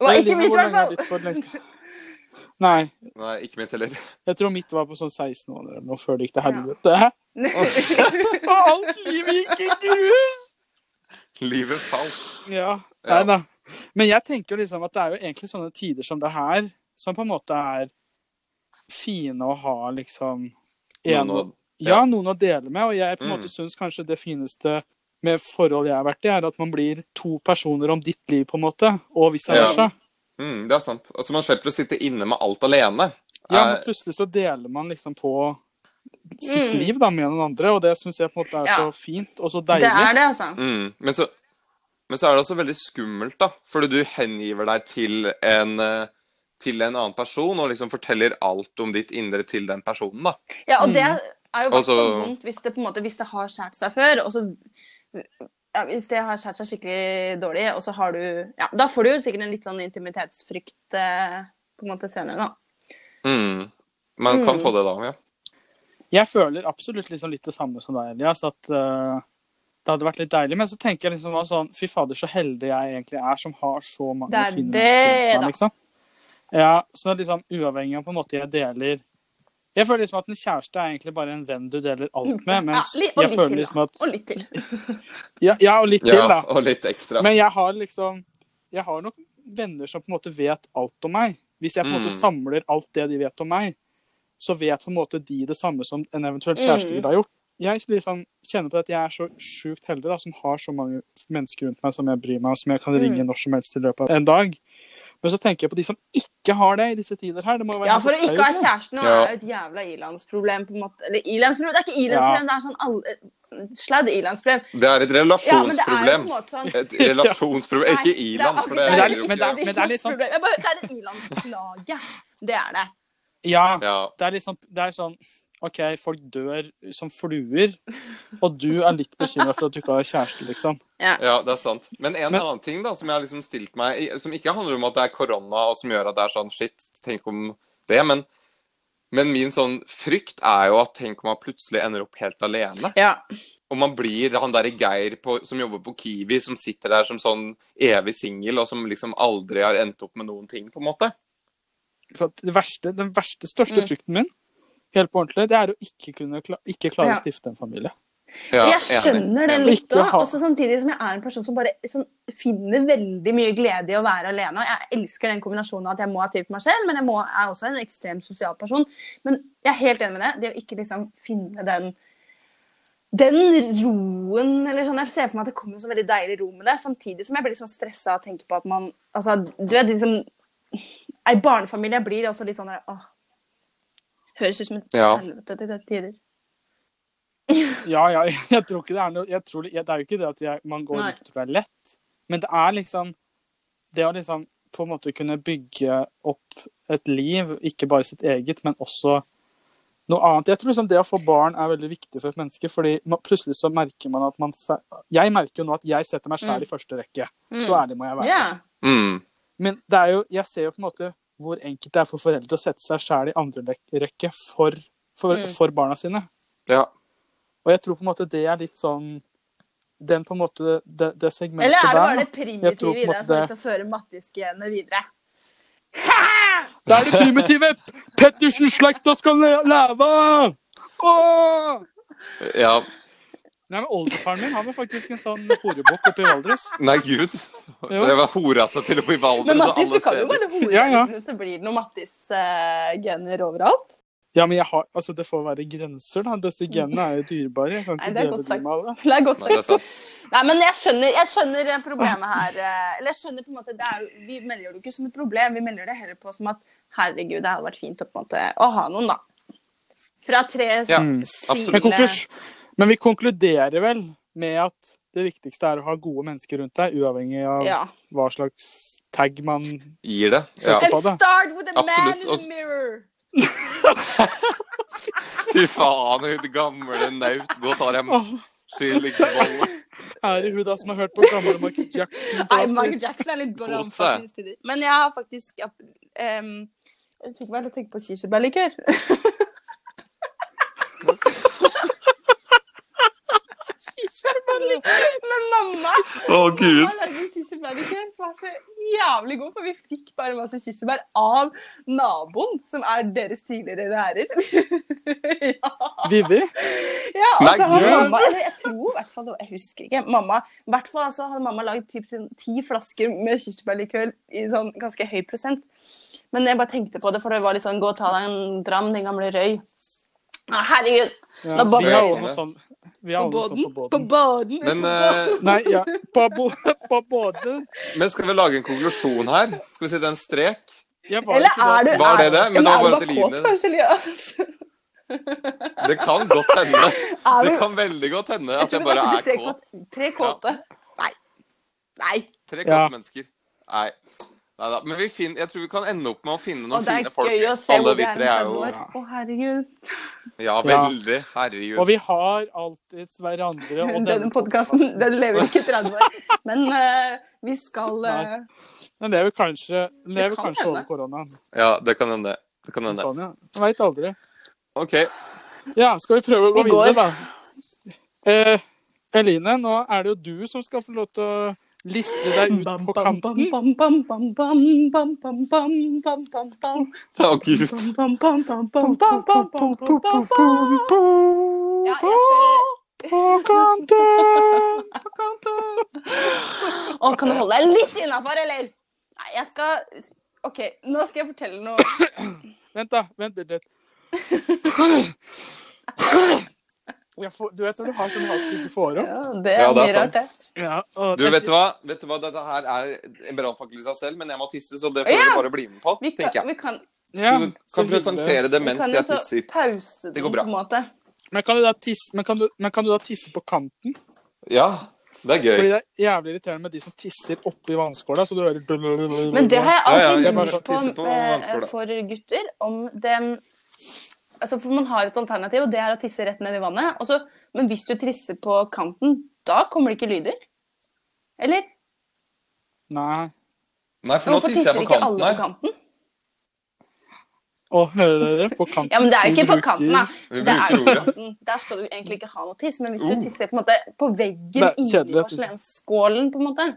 S1: var
S2: Jeg
S1: ikke
S2: lurer på
S1: mitt, i
S2: hvor
S1: hvert
S2: lenge er
S1: fall.
S2: ditt for det lengste. Nei,
S3: Nei, ikke mitt heller.
S2: jeg tror mitt var på sånn 16 måneder eller noe før det gikk til
S1: Ja.
S2: helvete. Og alt livet gikk i grus!
S3: Livet falt.
S2: Ja,
S3: Ja.
S2: nei da. Men jeg tenker jo liksom at det er jo egentlig sånne tider som det her, som på en måte er fine å ha liksom en,
S3: Noen å-
S2: ja, noen å dele med. Og jeg på en
S3: Mm.
S2: måte syns kanskje det fineste med forhold jeg har vært i, er at man blir to personer om ditt liv, på en måte. Og vice
S3: Ja.
S2: versa.
S3: Mm, det er sant. Altså, man slipper å sitte inne med alt alene.
S2: Ja,
S3: Eh,
S2: men plutselig så deler man liksom på sitt
S1: Mm.
S2: liv da, med noen andre, og det syns jeg på en måte er
S1: Ja.
S2: så fint og så
S1: Det
S2: deilig.
S1: er det, altså.
S3: Mm. Men, så, men så er det også veldig skummelt, da. Fordi du hengiver deg til en, eh, til en annen person og liksom forteller alt om ditt indre til den personen, da.
S1: Ja, og det
S2: Mm.
S1: er jo bare
S3: Altså-
S1: så vondt hvis det, på en måte, hvis det har skjært seg før, og så ja, Hvis det har skjært seg skikkelig dårlig, og så har du Ja, da får du jo sikkert en litt sånn intimitetsfrykt eh, på en måte senere, da.
S3: Mm. Man kan
S1: Mm.
S3: få det da, ja.
S2: Jeg føler absolutt liksom litt det samme som deg, Elias, at eh, det hadde vært litt deilig. Men så tenker jeg liksom bare sånn, fy fader, så heldig jeg egentlig er som har så mange
S1: Det er
S2: fine
S1: det,
S2: mennesker rundt
S1: da.
S2: meg, liksom. Ja, så det er liksom uavhengig av på en måte jeg deler Jeg føler liksom at en kjæreste er egentlig bare en venn du deler alt med, mens
S1: Ja, li- og
S2: jeg
S1: litt
S2: føler
S1: til,
S2: liksom at
S1: Og litt til.
S2: Ja, ja og litt til,
S3: ja
S2: da.
S3: og litt ekstra.
S2: Men jeg har liksom Jeg har nok venner som på en måte vet alt om meg. Hvis jeg på en måte
S3: Mm.
S2: samler alt det de vet om meg, så vet på en måte de det samme som en eventuell kjæreste
S1: Mm.
S2: ville ha gjort. Jeg liksom kjenner på at jeg er så sjukt heldig da, som har så mange mennesker rundt meg som jeg bryr meg om, som jeg
S1: Mm.
S2: kan ringe når som helst i løpet av en dag. Men så tenker jeg på de som ikke har det i disse tider her. Det må jo være
S1: Ja, for å
S2: helt
S1: ikke ha
S2: forferdelig.
S1: kjæresten nå
S3: Ja.
S1: er jo et jævla ilandsproblem, på en måte. Eller ilandsproblem, det er ikke ilandsproblem, det er sånn alle Sladd ilandsproblem.
S3: Det er et
S1: Ja, men det er jo på en
S3: relasjonsproblem.
S1: måte sånn
S3: Et relasjonsproblem. Ikke i-land, for det
S2: Men det er
S3: er
S2: litt-
S3: jo
S2: men det
S3: ikke
S2: er- men det er litt sånn-
S1: Jeg bare, det er en ilandsplage. Det er det.
S2: Ja,
S3: ja.
S2: det er liksom det er sånn OK, folk dør som fluer, og du er litt bekymra for at du ikke har kjæreste, liksom.
S3: ja, det er sant. Men en
S2: Men-
S3: annen ting da, som jeg har liksom stilt meg i- Som ikke handler om at det er korona og som gjør at det er sånn shit, tenk om det, men men min sånn frykt er jo at tenk om man plutselig ender opp helt alene.
S1: Ja.
S3: Og man blir han derre Geir på, som jobber på Kiwi, som sitter der som sånn evig singel, og som liksom aldri har endt opp med noen ting, på en måte.
S2: for at det verste, den verste, største
S1: Mm.
S2: frykten min, helt på ordentlig, det er å ikke, kunne kla ikke klare
S1: Ja.
S2: å stifte en familie.
S3: Ja, Mm.
S1: jeg skjønner den
S2: Enig.
S1: litt
S2: Ikke
S1: òg.
S2: ha-
S1: Også samtidig som jeg er en person som bare som finner veldig mye glede i å være alene. Og jeg elsker den kombinasjonen av at jeg må ha tid for meg selv, men jeg må, er også en ekstremt sosial person. Men jeg er helt enig med det. Det å ikke liksom finne den den roen eller sånn, Jeg ser for meg at det kommer en sånn veldig deilig ro med det, samtidig som jeg blir litt sånn stressa og tenker på at man altså, Du vet liksom Ei barnefamilie blir også litt sånn der, åh, Høres ut som et
S3: Ja.
S1: helvete til tider.
S2: Ja, ja, jeg tror ikke det er noe jeg tror, jeg, Det er jo ikke det at jeg, man går
S1: Nei.
S2: ut og er lett, men det er liksom Det å liksom på en måte kunne bygge opp et liv, ikke bare sitt eget, men også noe annet. Jeg tror liksom det å få barn er veldig viktig for et menneske, fordi man, plutselig så merker man at man se- Jeg merker jo nå at jeg setter meg
S1: Mm.
S2: sjæl i første rekke.
S1: Mm.
S2: Så ærlig må jeg være.
S1: Ja.
S3: Mm.
S2: Men det er jo, jeg ser jo på en måte hvor enkelt det er for foreldre å sette seg sjæl i andre rek- rekke for, for,
S1: Mm.
S2: for barna sine.
S3: Ja.
S2: Og jeg tror på en måte det er litt sånn Den på en måte, det, det segmentet
S1: Eller er det bare
S2: der
S1: det primitive
S2: på en
S1: i deg
S2: måte
S1: som
S2: det-
S1: skal føre Mattis-genet videre?
S2: da. Det er det primitive! Pettersen-slekta skal le- leve! Åh!
S3: ja.
S2: Nei, men Oldefaren min han var faktisk en sånn horebukk oppe i Valdres.
S3: Nei, gud.
S2: Jo.
S3: Det var hora seg til å bli valgt
S1: Men Mattis, du kan jo bare hore
S2: Ja, ja.
S1: litt, så blir det noen Mattis-gener overalt.
S2: Ja, men jeg har, altså, det får være grenser, da. Disse genene er jo dyrebare. Jeg kan
S1: Nei,
S2: ikke
S1: det er
S2: dele
S1: godt
S2: dem med alle.
S1: Det er godt
S3: Nei, det er sant.
S1: Nei, men jeg skjønner, jeg skjønner problemet her. eh, Eller jeg skjønner på en måte, det er, jo- Vi melder det jo ikke som et problem, vi melder det heller på som at herregud, det hadde vært fint å, på en måte, å ha noen, da. Fra tre
S3: Ja,
S1: sine-
S3: absolutt.
S2: Mm, Men, konklus-
S1: eh,
S2: men vi konkluderer vel med at det viktigste er å ha gode mennesker rundt deg, uavhengig av
S1: Ja.
S2: hva slags tag man
S3: Gir det. Ja.
S2: Søker
S1: And
S2: det.
S1: start with the man
S3: Absolutt,
S1: in
S3: og-
S1: the mirror.
S3: Fy faen, hun gamle naut. Gå og ta dem.
S2: Åh,
S3: Skyld ikke bolle.
S2: Ære hun da som har hørt på gamle Michael Jackson.
S1: Nei, Michael Jackson er litt bra.
S3: Kose.
S1: faktisk, til de. Men jeg har faktisk ja, em, Jeg fikk meg til å tenke på kirsebærlikør. Kirsebærlikør med mamma!
S3: Å, gud.
S1: Mamma lagde kirsebærlikør som er så jævlig god, for vi fikk bare masse kirsebær av naboen, som er deres tidligere lærer. ja.
S2: Vivi?
S1: Ja, og
S3: Nei,
S1: så hadde
S3: gjør
S1: mamma, eller jeg tror i hvert fall, det var- jeg husker ikke, mamma, i hvert fall altså, hadde mamma lagd typ sånn ti flasker med kirsebærlikør i sånn ganske høy prosent. Men jeg bare tenkte på det, for det var litt sånn, gå og ta deg en dram, din gamle røy. Å, herregud,
S2: Ja,
S1: Da bare-
S2: vi har også noe sånn vi har
S1: på
S2: også
S1: båden,
S2: noe sånn på
S1: på
S2: båten.
S1: båden.
S3: Men,
S1: på
S3: eh,
S2: Nei, ja. På, bo, på båten.
S3: men skal vi lage en konklusjon her? Skal vi si det er en strek?
S2: Jeg
S1: båden.
S2: var
S1: eller
S2: ikke der.
S1: er du,
S3: Var det
S1: er-
S3: det?
S1: ja,
S3: Men da
S1: er
S3: var
S1: du bare
S3: det til
S1: kåt,
S3: Line.
S1: kanskje, Elias?
S3: Det kan godt hende.
S1: Er du,
S3: Det kan veldig godt hende
S1: jeg
S3: at
S1: tror
S3: jeg
S1: det
S3: bare
S1: kanskje
S3: er
S1: blir
S3: kåt.
S1: strek på Tre kåte. Nei. Nei.
S3: Tre kåte
S2: Ja.
S3: mennesker. Nei. Neida. Men vi finner, jeg tror vi kan ende opp med å finne
S1: Og
S3: noen
S1: det er
S3: fine folk.
S1: gøy å se hvor
S3: Alle
S1: det
S3: vi
S1: er
S3: tre er
S1: en
S3: jo
S1: år. Å, herregud.
S3: Ja, veldig. Herregud.
S2: Og vi har alltids hverandre og
S1: Denne
S2: denne
S1: podkasten den lever ikke i 30 år. Men eh, vi skal eh,
S2: Den lever kanskje, den lever
S1: kan
S2: kanskje
S1: hende.
S2: over koronaen.
S3: Ja, det kan hende. Det kan hende.
S2: Sånn, ja. Jeg Veit aldri.
S3: OK.
S2: Ja, skal vi prøve å gå
S1: Vi går.
S2: videre, da? Eh, Eline, nå er det jo du som skal få lov til å liste deg ut
S1: bam,
S2: på
S1: bam,
S2: kanten.
S1: bam, bam, bam, bam, bam, bam, bam, bam, bam, bam, bam.
S3: Å, gud.
S1: Bam, bam, bam, bam, bam, bam, bam, bam, bam, bam. Ja, jeg skal-
S2: På kanten!
S1: Å, kan du holde deg litt innafor, eller? Nei, jeg skal OK, nå skal jeg fortelle noe.
S2: Vent, da. Vent litt. litt. Jeg får, du vet når du har sånn hals du ikke får opp?
S1: Ja, det
S3: Ja,
S1: er
S3: det er
S1: mye
S3: sant.
S1: rart, det.
S2: Ja, og
S3: Du, vet du hva? Vet du hva? Dette her er en brannfakkel i seg selv, men jeg må tisse, så det får
S1: Ja.
S3: du bare bli med på,
S1: Vi kan,
S3: tenker jeg.
S1: vi kan,
S2: Ja,
S3: Så du kan
S2: hyggelig.
S3: presentere det
S1: vi
S3: mens
S1: kan jo
S3: jeg
S1: så
S3: tisser.
S1: pause den,
S3: går
S1: på
S3: bra.
S1: en måte.
S2: Men kan, du da tisse, men, kan du, men kan du da tisse på kanten?
S3: Ja, det er
S2: Fordi
S3: gøy.
S2: det er jævlig irriterende med de som tisser oppi vannskåla, så du hører
S1: Men det har jeg
S3: Ja, ja,
S1: alltid
S3: jeg
S2: bare
S1: lurt
S3: tisser
S1: på,
S3: på
S1: eh,
S3: vannskåla.
S1: for gutter. Om det Altså, for man har et alternativ, og det er å tisse rett ned i vannet. Og så, men hvis du trisser på kanten, da kommer det ikke lyder? Eller?
S2: Nei.
S3: Nei, for nå
S1: Hvorfor
S3: tisser jeg på
S1: ikke alle
S3: kanten
S1: på
S3: her.
S1: kanten?
S2: Å, hører dere? På kanten.
S1: Ja, men det er jo ikke på kanten, da.
S3: Vi
S1: Det er jo
S3: bruker ordet.
S1: kanten. Der skal du egentlig ikke ha noe tiss. Men hvis du
S3: Oh.
S1: tisser på, en måte, på veggen
S2: Det er
S1: inni
S2: kjedelig å tisse.
S1: porselensskålen, på en måte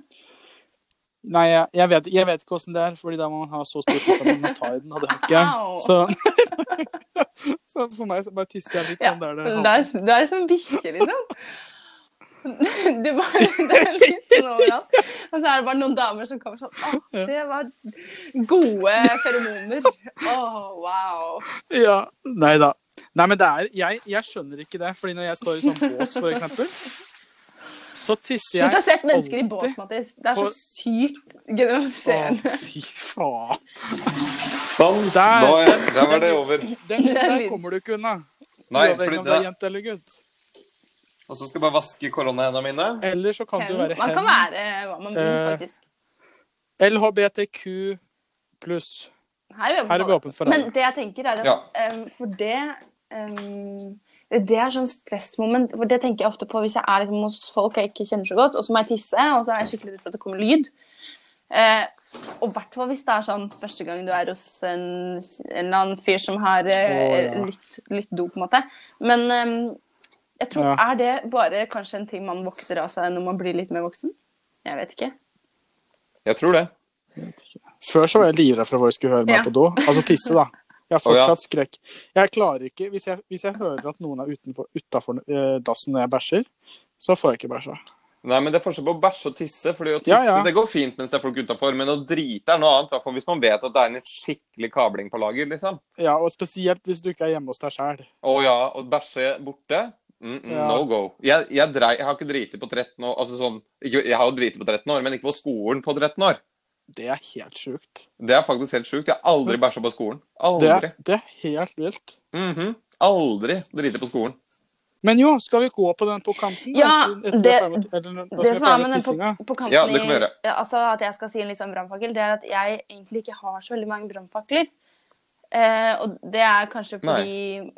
S2: Nei, jeg, jeg, vet, jeg vet ikke åssen det er, fordi da må man ha så stor tiss at man må ta i den, og det har ikke
S1: Au.
S2: jeg. Så, så for meg så bare tisser jeg litt
S1: Ja,
S2: sånn der det
S1: det er, det er som bikkje, liksom. Det, var, det er litt sånn overalt. Og så er det bare noen damer som kommer sånn Å, det var gode feromoner. Å, wow.
S2: Ja, Nei da. Nei, men det er jeg, jeg skjønner ikke det, fordi når jeg står i sånn bås, for eksempel, så tisser jeg
S1: Slutt å se mennesker i
S2: alltid-
S1: bås, Mattis. Det er
S2: på-
S1: så sykt
S2: Å,
S1: generaliserende.
S2: fy faen.
S3: Sånn.
S2: Der.
S3: Da er, der var det over.
S2: Den,
S1: Det er
S2: der
S1: lyd.
S2: kommer du ikke unna.
S3: Nei,
S2: Uavhengig
S3: fordi
S2: om du
S3: det
S2: er jente eller gutt.
S3: Og så skal jeg bare vaske koronahendene mine.
S2: Eller så kan du
S1: Hen-
S2: være
S1: Man kan
S2: hen.
S1: være hva man vil,
S2: Eh,
S1: faktisk.
S2: LHBTQ pluss.
S1: Her
S2: Her
S1: er
S2: er
S1: vi
S2: vi
S1: åpne
S2: åpne for
S1: alle.
S2: alle.
S1: Men det jeg tenker er at
S3: Ja.
S1: em, For det em, Det er sånn stressmoment. For det tenker jeg ofte på hvis jeg er liksom hos folk jeg ikke kjenner så godt, og så må jeg tisse, og så er jeg skikkelig redd for at det kommer lyd. Eh, og i hvert fall hvis det er sånn første gang du er hos en, en eller annen fyr som har eh,
S2: Å, ja.
S1: litt, litt do, på en måte. Men em, jeg tror,
S2: Ja.
S1: er det bare kanskje en ting man vokser av seg når man blir litt mer voksen? Jeg vet ikke.
S3: Jeg tror det.
S2: Før så var jeg livredd for at folk skulle høre meg
S1: Ja.
S2: på do. Altså tisse, da. Jeg har
S3: Å, ja.
S2: fortsatt skrekk. Jeg klarer ikke Hvis jeg, hvis jeg hører at noen er utenfor- utenfor eh, dassen når jeg bæsjer, så får jeg ikke bæsja.
S3: Nei, men det er forskjell på å bæsje og tisse. fordi å tisse
S2: Ja, ja.
S3: det går fint mens det er folk utafor, men å drite er noe annet. Hvertfall hvis man vet at det er en skikkelig kabling på lager. liksom.
S2: Ja, og spesielt hvis du ikke er hjemme hos deg sjæl.
S3: Å ja, å bæsje borte mm -mm,
S2: Ja.
S3: No go. Jeg, jeg, drei, jeg har ikke driti på 13 år. altså sånn, ikke, Jeg har jo driti på 13 år, men ikke på skolen på 13 år.
S2: Det er helt sjukt.
S3: Det er faktisk helt sjukt. Jeg har aldri bæsja på skolen.
S2: Mm. Det
S3: Aldri.
S2: er, det er helt vilt.
S3: Mhm. Aldri driti på skolen.
S2: Men jo, skal vi gå på den på kanten? da?
S1: Ja,
S2: Etter vi
S1: det-
S2: ferdig med- eller når- da skal
S1: Det
S2: vi
S1: som er
S2: ferdig
S1: med
S2: med
S1: den på,
S2: tissinga.
S1: på kanten
S3: Ja, det kan vi
S1: i-
S3: gjøre.
S1: ja, altså At jeg skal si en litt sånn brannfakkel, det er at jeg egentlig ikke har så veldig mange brannfakler. Eh, og det er kanskje fordi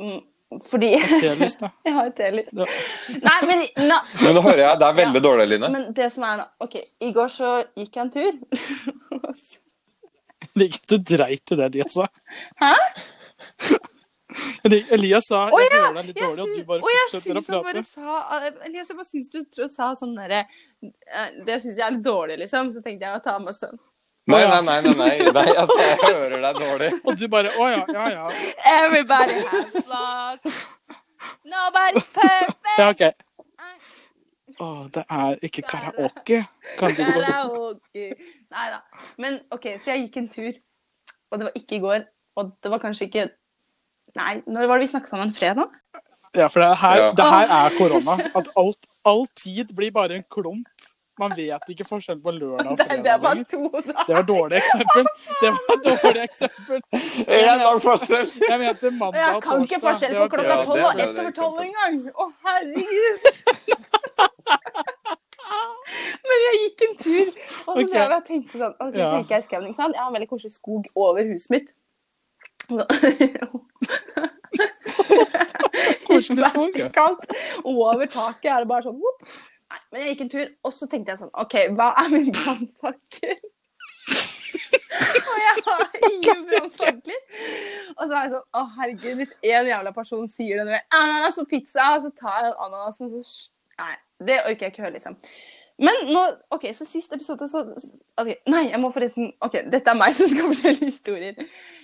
S1: mm, Fordi
S2: T-lys, da.
S1: Jeg har et telys.
S2: Ja.
S1: Nei, men, na,
S3: Men nå hører jeg det er veldig dårlig, Line.
S1: men det som er nå OK, i går så gikk jeg en tur.
S2: Ikke du dreit i det Elias sa.
S1: Hæ?
S2: Eli- Elias sa
S4: Å
S2: jeg
S4: ja,
S2: hører deg litt dårlig, og du bare
S4: og jeg
S2: fortsetter å
S4: syns han bare
S2: prate.
S4: sa Elias, jeg bare syns du tror, sa sånn derre eh, Det syns jeg er litt dårlig, liksom. Så tenkte jeg å ta med sånn
S3: Nei, nei, nei. nei, nei, nei altså, jeg hører deg dårlig.
S2: Og du bare å ja, ja, ja.
S4: Everybody has flaws. Nobody's perfect.
S2: Ja, OK. Å, det er ikke karaoke. Kan du gå
S1: Karaoke. Nei da. Men OK, så jeg gikk en tur, og det var ikke i går. Og det var kanskje ikke Nei, når var det vi snakket sammen? Fredag?
S2: Ja, for det her,
S3: Ja.
S2: det her er korona. At alt, all tid blir bare en klump. Man vet ikke forskjell på lørdag og
S1: Det,
S2: fredag.
S1: det var
S2: lenger.
S1: to
S2: Det
S1: dager.
S2: var dårlig eksempel. Det var dårlig eksempel.
S3: Én dag forskjell.
S2: Jeg mente mandag
S1: Jeg
S2: og
S1: kan ikke forskjell på
S2: Det var-
S1: klokka
S3: Ja, det
S1: tolv og
S3: ble
S1: ett
S3: det
S1: over tolv
S3: eksempel.
S1: engang! Å, herregud! Men jeg gikk en tur, og så
S2: Ok.
S1: drev jeg og tenkte sånn ok, så
S2: Ja.
S1: gikk jeg i skauen, ikke sant? Jeg har en veldig koselig skog over huset mitt. Så-
S2: Koselig skog, ja.
S1: Vertikalt over taket er det bare sånn whoop. Nei, men jeg gikk en tur, og så tenkte jeg sånn OK, hva er min brannfakkel? og jeg har ingen brannfakler. Og så er jeg sånn Å, herregud, hvis en jævla person sier det når jeg ananas på pizza, så tar jeg den ananasen, så sj- Nei, det orker jeg ikke høre, liksom. Men nå OK, så sist episode, så ok, Nei, jeg må forresten OK, dette er meg som skal fortelle historier.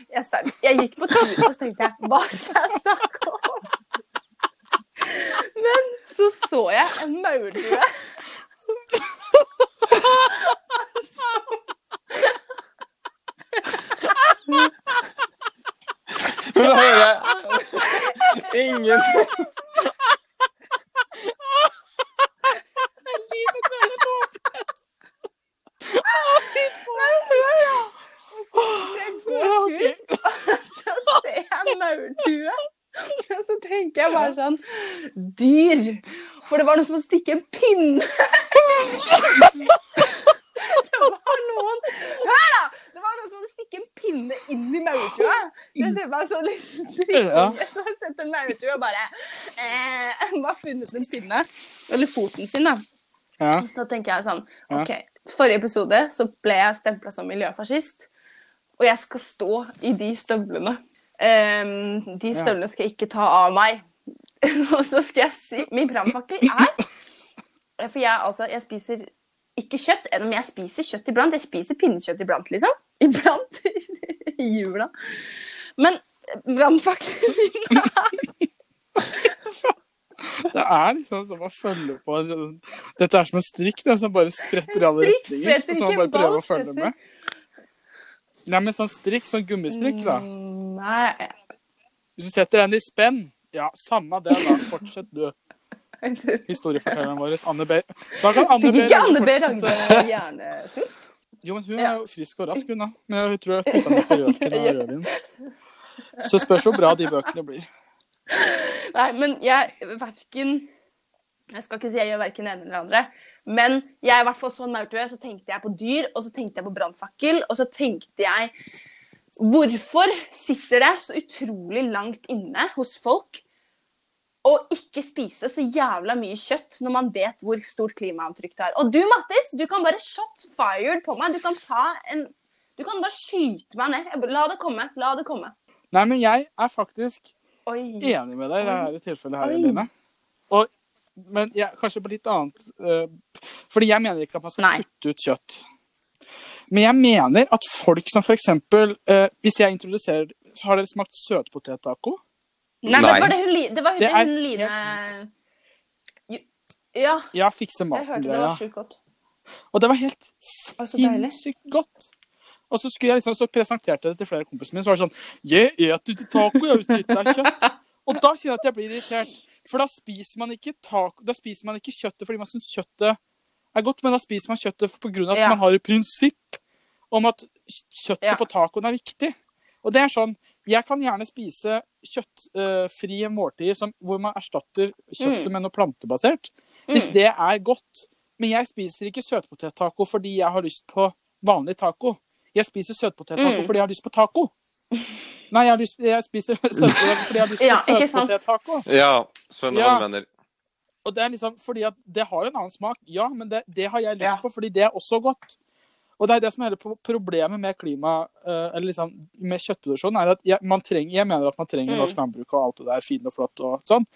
S1: Jeg, star- jeg gikk på tur, og så tenkte jeg Hva skal jeg snakke om? Men så så jeg en maurdue.
S3: Men nå hører jeg ingen
S1: Jeg går tur, og så ser jeg en maurdue. Og så tenker jeg bare sånn Dyr! For det var noe som å stikke en pinne Det var noen Hør, da! Det var noe som å stikke en pinne inn i maurdua. Jeg ser meg sånn liten drittunge som har sett en maurdue og bare eh, Bare funnet en pinne. Eller foten sin, da.
S2: Ja.
S1: Så da tenker jeg sånn
S2: Ja.
S1: OK, forrige episode så ble jeg stempla som miljøfascist. Og jeg skal stå i de støvlene. Ehm, de
S2: Ja.
S1: støvlene skal jeg ikke ta av meg. og så skal jeg si Min brannfakkel er For jeg, altså, jeg spiser ikke kjøtt, enn om jeg spiser kjøtt iblant. Jeg spiser pinnekjøtt iblant, liksom. Iblant i jula. Men eh, brannfakkelen min
S2: Det er liksom som å følge på en sånn- Dette er som en strikk det, som bare spretter i alle
S1: Strikk
S2: retninger.
S1: spretter
S2: Som man
S1: ikke,
S2: bare prøver å
S1: ball
S2: følge med. Nei, men sånn strikk, sånn gummistrikk,
S1: Mm.
S2: da.
S1: Nei,
S2: Hvis du setter den i spenn Ja, samme det, da. Fortsett, du. Historiefortelleren vår, Anne B. Da kan Anne
S1: fikk
S2: B.
S1: ikke Anne B.
S2: fortsette.
S1: Ragde hjernesvulst?
S2: Jo, men hun
S1: Ja.
S2: er jo frisk og rask, hun, da. Men jeg tror jeg putta den oppi rødken og rødvin. Så spørs hvor bra de bøkene blir.
S1: Nei, men jeg verken Jeg skal ikke si jeg gjør verken det ene eller det andre. Men jeg i hvert fall så en maurtue, så tenkte jeg på dyr, og så tenkte jeg på brannfakkel, og så tenkte jeg Hvorfor sitter det så utrolig langt inne hos folk å ikke spise så jævla mye kjøtt når man vet hvor stort klimaavtrykk det er? Og du, Mattis, du kan bare shot fired på meg. Du kan ta en Du kan bare skyte meg ned. Jeg- La det komme. La det komme.
S2: Nei, men jeg er faktisk
S1: Oi.
S2: enig med deg i dette tilfellet her,
S1: Oi.
S2: Eline. Og, men jeg, kanskje på litt annet eh, Fordi jeg mener ikke at man skal
S1: Nei.
S2: kutte ut kjøtt. Men jeg mener at folk som f.eks. Uh, eh, hvis jeg introduserer har dere smakt søtpotettaco?
S1: Nei, men
S5: Men
S3: Nei.
S5: det var det hun, li- det var hun,
S2: Det
S5: det
S2: er-
S5: hun Line Jo- Ja,
S2: Ja, fikse
S5: jeg hørte det
S2: maten-greia.
S5: var sjukt godt.
S2: Og det var helt
S5: Å, så deilig.
S2: sinnssykt godt. Og så, skulle jeg liksom, så presenterte jeg det til flere kompisene mine, så var det sånn Jeg eter ikke taco jeg, hvis det ikke er kjøtt. Og da kjenner jeg at jeg blir irritert. For da spiser man ikke, taco, da spiser man ikke kjøttet fordi man syns kjøttet er godt, men da spiser man kjøttet på grunn av at
S5: Ja.
S2: man har et prinsipp om at kjøttet
S5: Ja.
S2: på tacoen er viktig. Og det er sånn Jeg kan gjerne spise kjøttfrie måltider som, hvor man erstatter kjøttet
S5: Mm.
S2: med noe plantebasert, hvis det er godt. Men jeg spiser ikke søtpotettaco fordi jeg har lyst på vanlig taco. Jeg spiser søtpotettaco
S5: Mm.
S2: fordi jeg har lyst på taco. Nei, jeg, har lyst, jeg spiser søtpotettaco fordi jeg har lyst
S5: Ja,
S2: på
S5: ikke sant?
S2: søtpotettaco.
S3: Ja, skjønner
S2: Ja.
S3: hva du mener.
S2: Og det er liksom fordi at det har jo en annen smak, ja, men det, det har jeg lyst
S5: Ja.
S2: på, fordi det er også godt. Og det er det som er hele pro- problemet med klima, eh, eller liksom med kjøttproduksjon, er at jeg, man trenger, jeg mener at man trenger
S5: Mm.
S2: norsk landbruk og alt det der fint og flott og sånn.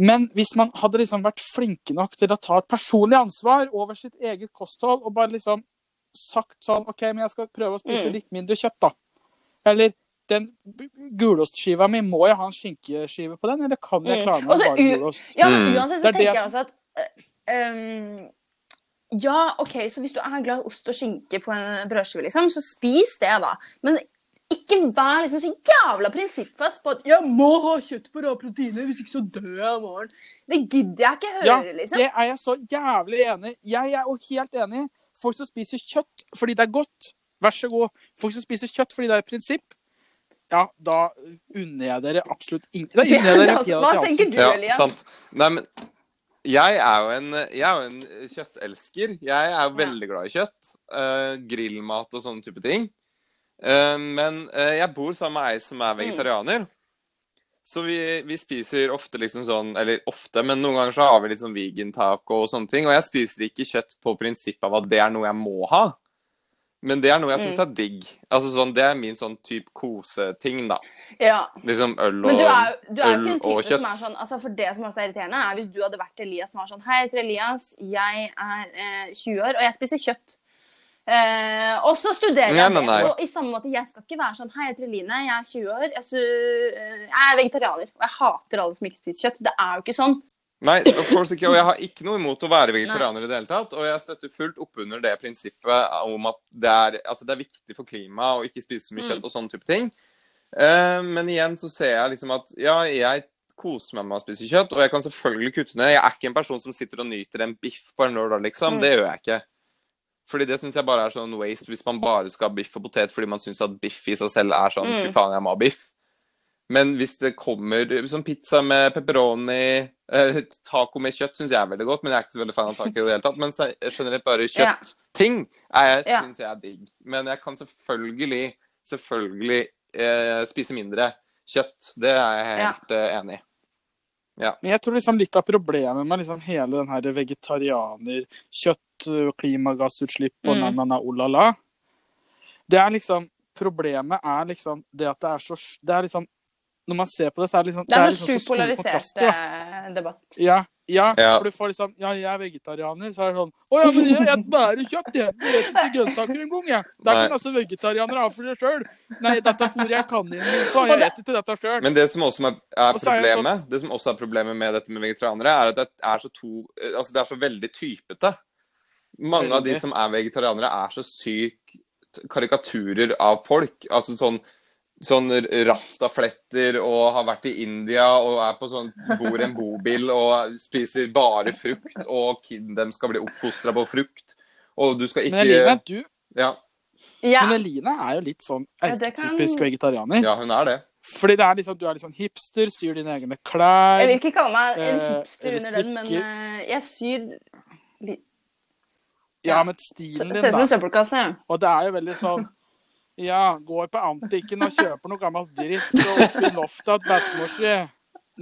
S2: Men hvis man hadde liksom vært flinke nok til å ta et personlig ansvar over sitt eget kosthold, og bare liksom sagt sånn OK, men jeg skal prøve å spise
S5: Mm.
S2: litt mindre kjøtt, da. Eller den b- gulostskiva mi, må jeg ha en skinkeskive på den, eller kan jeg
S5: Mm.
S2: klare meg
S5: Og
S2: med
S5: så
S2: bare
S5: u-
S2: gulost?
S5: Ja, men
S3: Mm.
S2: Det
S5: uansett så
S2: er det
S5: tenker jeg
S2: som-
S5: også at eh, ehm, Ja, OK, så hvis du er glad i ost og skinke på en brødskive, liksom, så spis det, da. Men ikke vær liksom så jævla prinsippfast på at 'jeg må ha kjøtt for å ha proteiner, hvis ikke så dør jeg i morgen'. Det gidder jeg ikke høre,
S2: Ja,
S5: liksom.
S2: Det er jeg så jævlig enig i. Jeg er jo helt enig. Folk som spiser kjøtt fordi det er godt, vær så god. Folk som spiser kjøtt fordi det er et prinsipp, ja, da unner jeg dere absolutt ingen Da unner jeg dere en
S5: altså,
S2: peanøtt
S5: Hva
S2: i halsen.
S5: tenker du,
S3: Ja,
S5: Elias?
S3: sant. Nei, men jeg er jo en, jeg er jo en kjøttelsker. Jeg er jo veldig glad i kjøtt. eh, grillmat og sånne type ting. Eh, men eh, jeg bor sammen med ei som
S5: Mm.
S3: er vegetarianer. Så vi, vi spiser ofte liksom sånn Eller ofte, men noen ganger så har vi litt sånn vegan-taco og sånne ting. Og jeg spiser ikke kjøtt på prinsipp av at det er noe jeg må ha. Men det er noe jeg syns
S5: Mm.
S3: er digg. Altså sånn, Det er min sånn type koseting, da.
S5: Ja.
S3: Liksom øl
S5: Men
S3: og
S5: du er, jo- du er jo ikke
S3: øl
S5: en
S3: og
S5: type som er
S3: kjøtt.
S5: sånn altså For det som også er irriterende, er hvis du hadde vært Elias som var sånn Hei, jeg heter Elias, jeg er eh, 20 år, og jeg spiser kjøtt. Eh, og så studerer
S3: Nei,
S5: jeg
S3: nei,
S5: det.
S3: nei.
S5: Og i samme måte, jeg skal ikke være sånn Hei, jeg heter Eline, jeg er 20 år, jeg, su eh, jeg er vegetarianer. Og jeg hater alle som ikke spiser kjøtt. Det er jo ikke sånn.
S3: Nei, of course ikke. Og jeg har ikke noe imot å være vegetarianer i det hele tatt. Og jeg støtter fullt opp under det prinsippet om at det er, altså det er viktig for klimaet å ikke spise så mye
S5: Mm.
S3: kjøtt og sånne type ting. Eh, men igjen så ser jeg liksom at ja, jeg koser meg med å spise kjøtt, og jeg kan selvfølgelig kutte ned. Jeg er ikke en person som sitter og nyter en biff på en lørdag, liksom.
S5: Mm.
S3: Det gjør jeg ikke. Fordi det syns jeg bare er sånn waste hvis man bare skal ha biff og potet fordi man syns at biff i seg selv er sånn
S5: Mm.
S3: fy faen, jeg må ha biff. Men hvis det kommer som pizza med pepperoni, eh, taco med kjøtt, syns jeg er veldig godt. Men jeg er ikke så veldig fan av taco i det hele tatt. Men se- generelt bare
S5: Ja.
S3: kjøttting er-
S5: Ja.
S3: syns jeg er digg. Men jeg kan selvfølgelig, selvfølgelig eh, spise mindre kjøtt. Det er jeg helt eh, enig i.
S2: Men jeg tror liksom litt av problemet med liksom hele den her vegetarianer, kjøtt, øh, klimagassutslipp og
S5: Mm.
S2: na-na-na, olala, det er liksom Problemet er liksom det at det er så Det er liksom Når man ser på det, så er det liksom
S5: Det er, så
S2: liksom
S5: sjukt
S2: store
S5: polarisert
S2: kontraster, da.
S5: eh, debatt.
S2: Ja, ja,
S3: Ja.
S2: for du får liksom Ja, jeg er vegetarianer, så er det sånn Å ja, men jeg spiser bare kjøtt, jeg. Jeg spiser ikke grønnsaker engang, jeg. Der
S3: Nei.
S2: kan altså vegetarianere ha for seg sjøl. Nei, dette fôrer jeg kaninen min på,
S5: Og
S2: jeg
S5: det-
S2: spiser ikke dette sjøl.
S3: Men det som også er, er
S2: Og så er jeg
S3: problemet Det som også er problemet med dette med vegetarianere, er at det er så, to, eh, altså det er så veldig typete. Mange av de
S2: Veldig.
S3: som er vegetarianere, er så sykt karikaturer av folk. Altså sånn Sånn rastafletter og har vært i India og er på sånn, bor i en bobil og spiser bare frukt, og kiden dem skal bli oppfostra på frukt. Og du skal
S2: Men
S3: ikke
S2: Eline, du,
S3: ja,
S5: Ja.
S2: men Eline er jo litt sånn
S5: Ja, det kan-
S2: erketypisk vegetarianer.
S3: ja, hun er det.
S2: Fordi det er liksom, du er litt sånn hipster, syr dine egne klær.
S5: Jeg vil ikke kalle meg en
S2: Eh,
S5: hipster under den, men
S2: strikker.
S5: eh, jeg syr
S2: Ja,
S5: ja.
S2: men stilen din,
S5: Ser ut som
S2: da.
S5: en søppelkasse.
S2: Og det er jo veldig sånn Ja, går på antikken og kjøper noe gammelt dritt og oppi loftet at bestemor si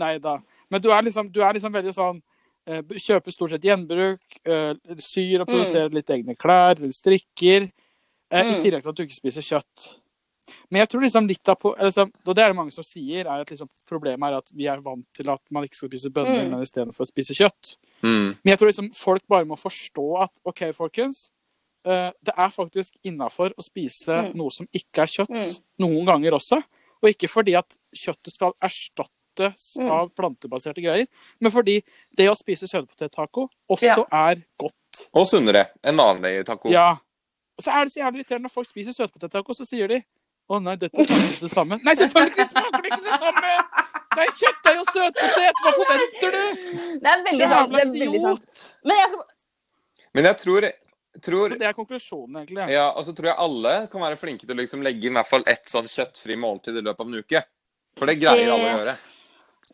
S2: Nei da. Men du er liksom, du er liksom veldig sånn eh, Kjøper stort sett gjenbruk, eh, syr og
S5: Mm.
S2: produserer litt egne klær, eller strikker. eh, I
S5: Mm.
S2: tillegg til at du ikke spiser kjøtt. Men jeg tror liksom litt av po- eller liksom, Og det er det mange som sier, er at liksom problemet er at vi er vant til at man ikke skal spise bønner,
S5: Mm.
S2: men istedenfor å spise kjøtt.
S3: Mm.
S2: Men jeg tror liksom folk bare må forstå at OK, folkens. eh, det er faktisk innafor å spise
S5: Mm.
S2: noe som ikke er kjøtt,
S5: Mm.
S2: noen ganger også. Og ikke fordi at kjøttet skal erstattes
S5: Mm.
S2: av plantebaserte greier, men fordi det å spise søtpotettaco også er godt.
S3: Og sunnere enn vanlig taco.
S2: Ja. Og så er det så jævlig irriterende når folk spiser søtpotettaco, så sier de å nei, dette smaker ikke det samme. Nei, selvfølgelig smaker det ikke det samme! Det er kjøttdeig og søtpotet! Hva forventer du?
S5: Det er veldig sant. Det er veldig sant. Men jeg skal
S3: Men jeg tror, tror
S2: Så det er konklusjonen, egentlig.
S3: ja, Og så tror jeg alle kan være flinke til å liksom legge i hvert fall ett sånn kjøttfri måltid i løpet av en uke. For det greier
S5: Det-
S3: alle å gjøre.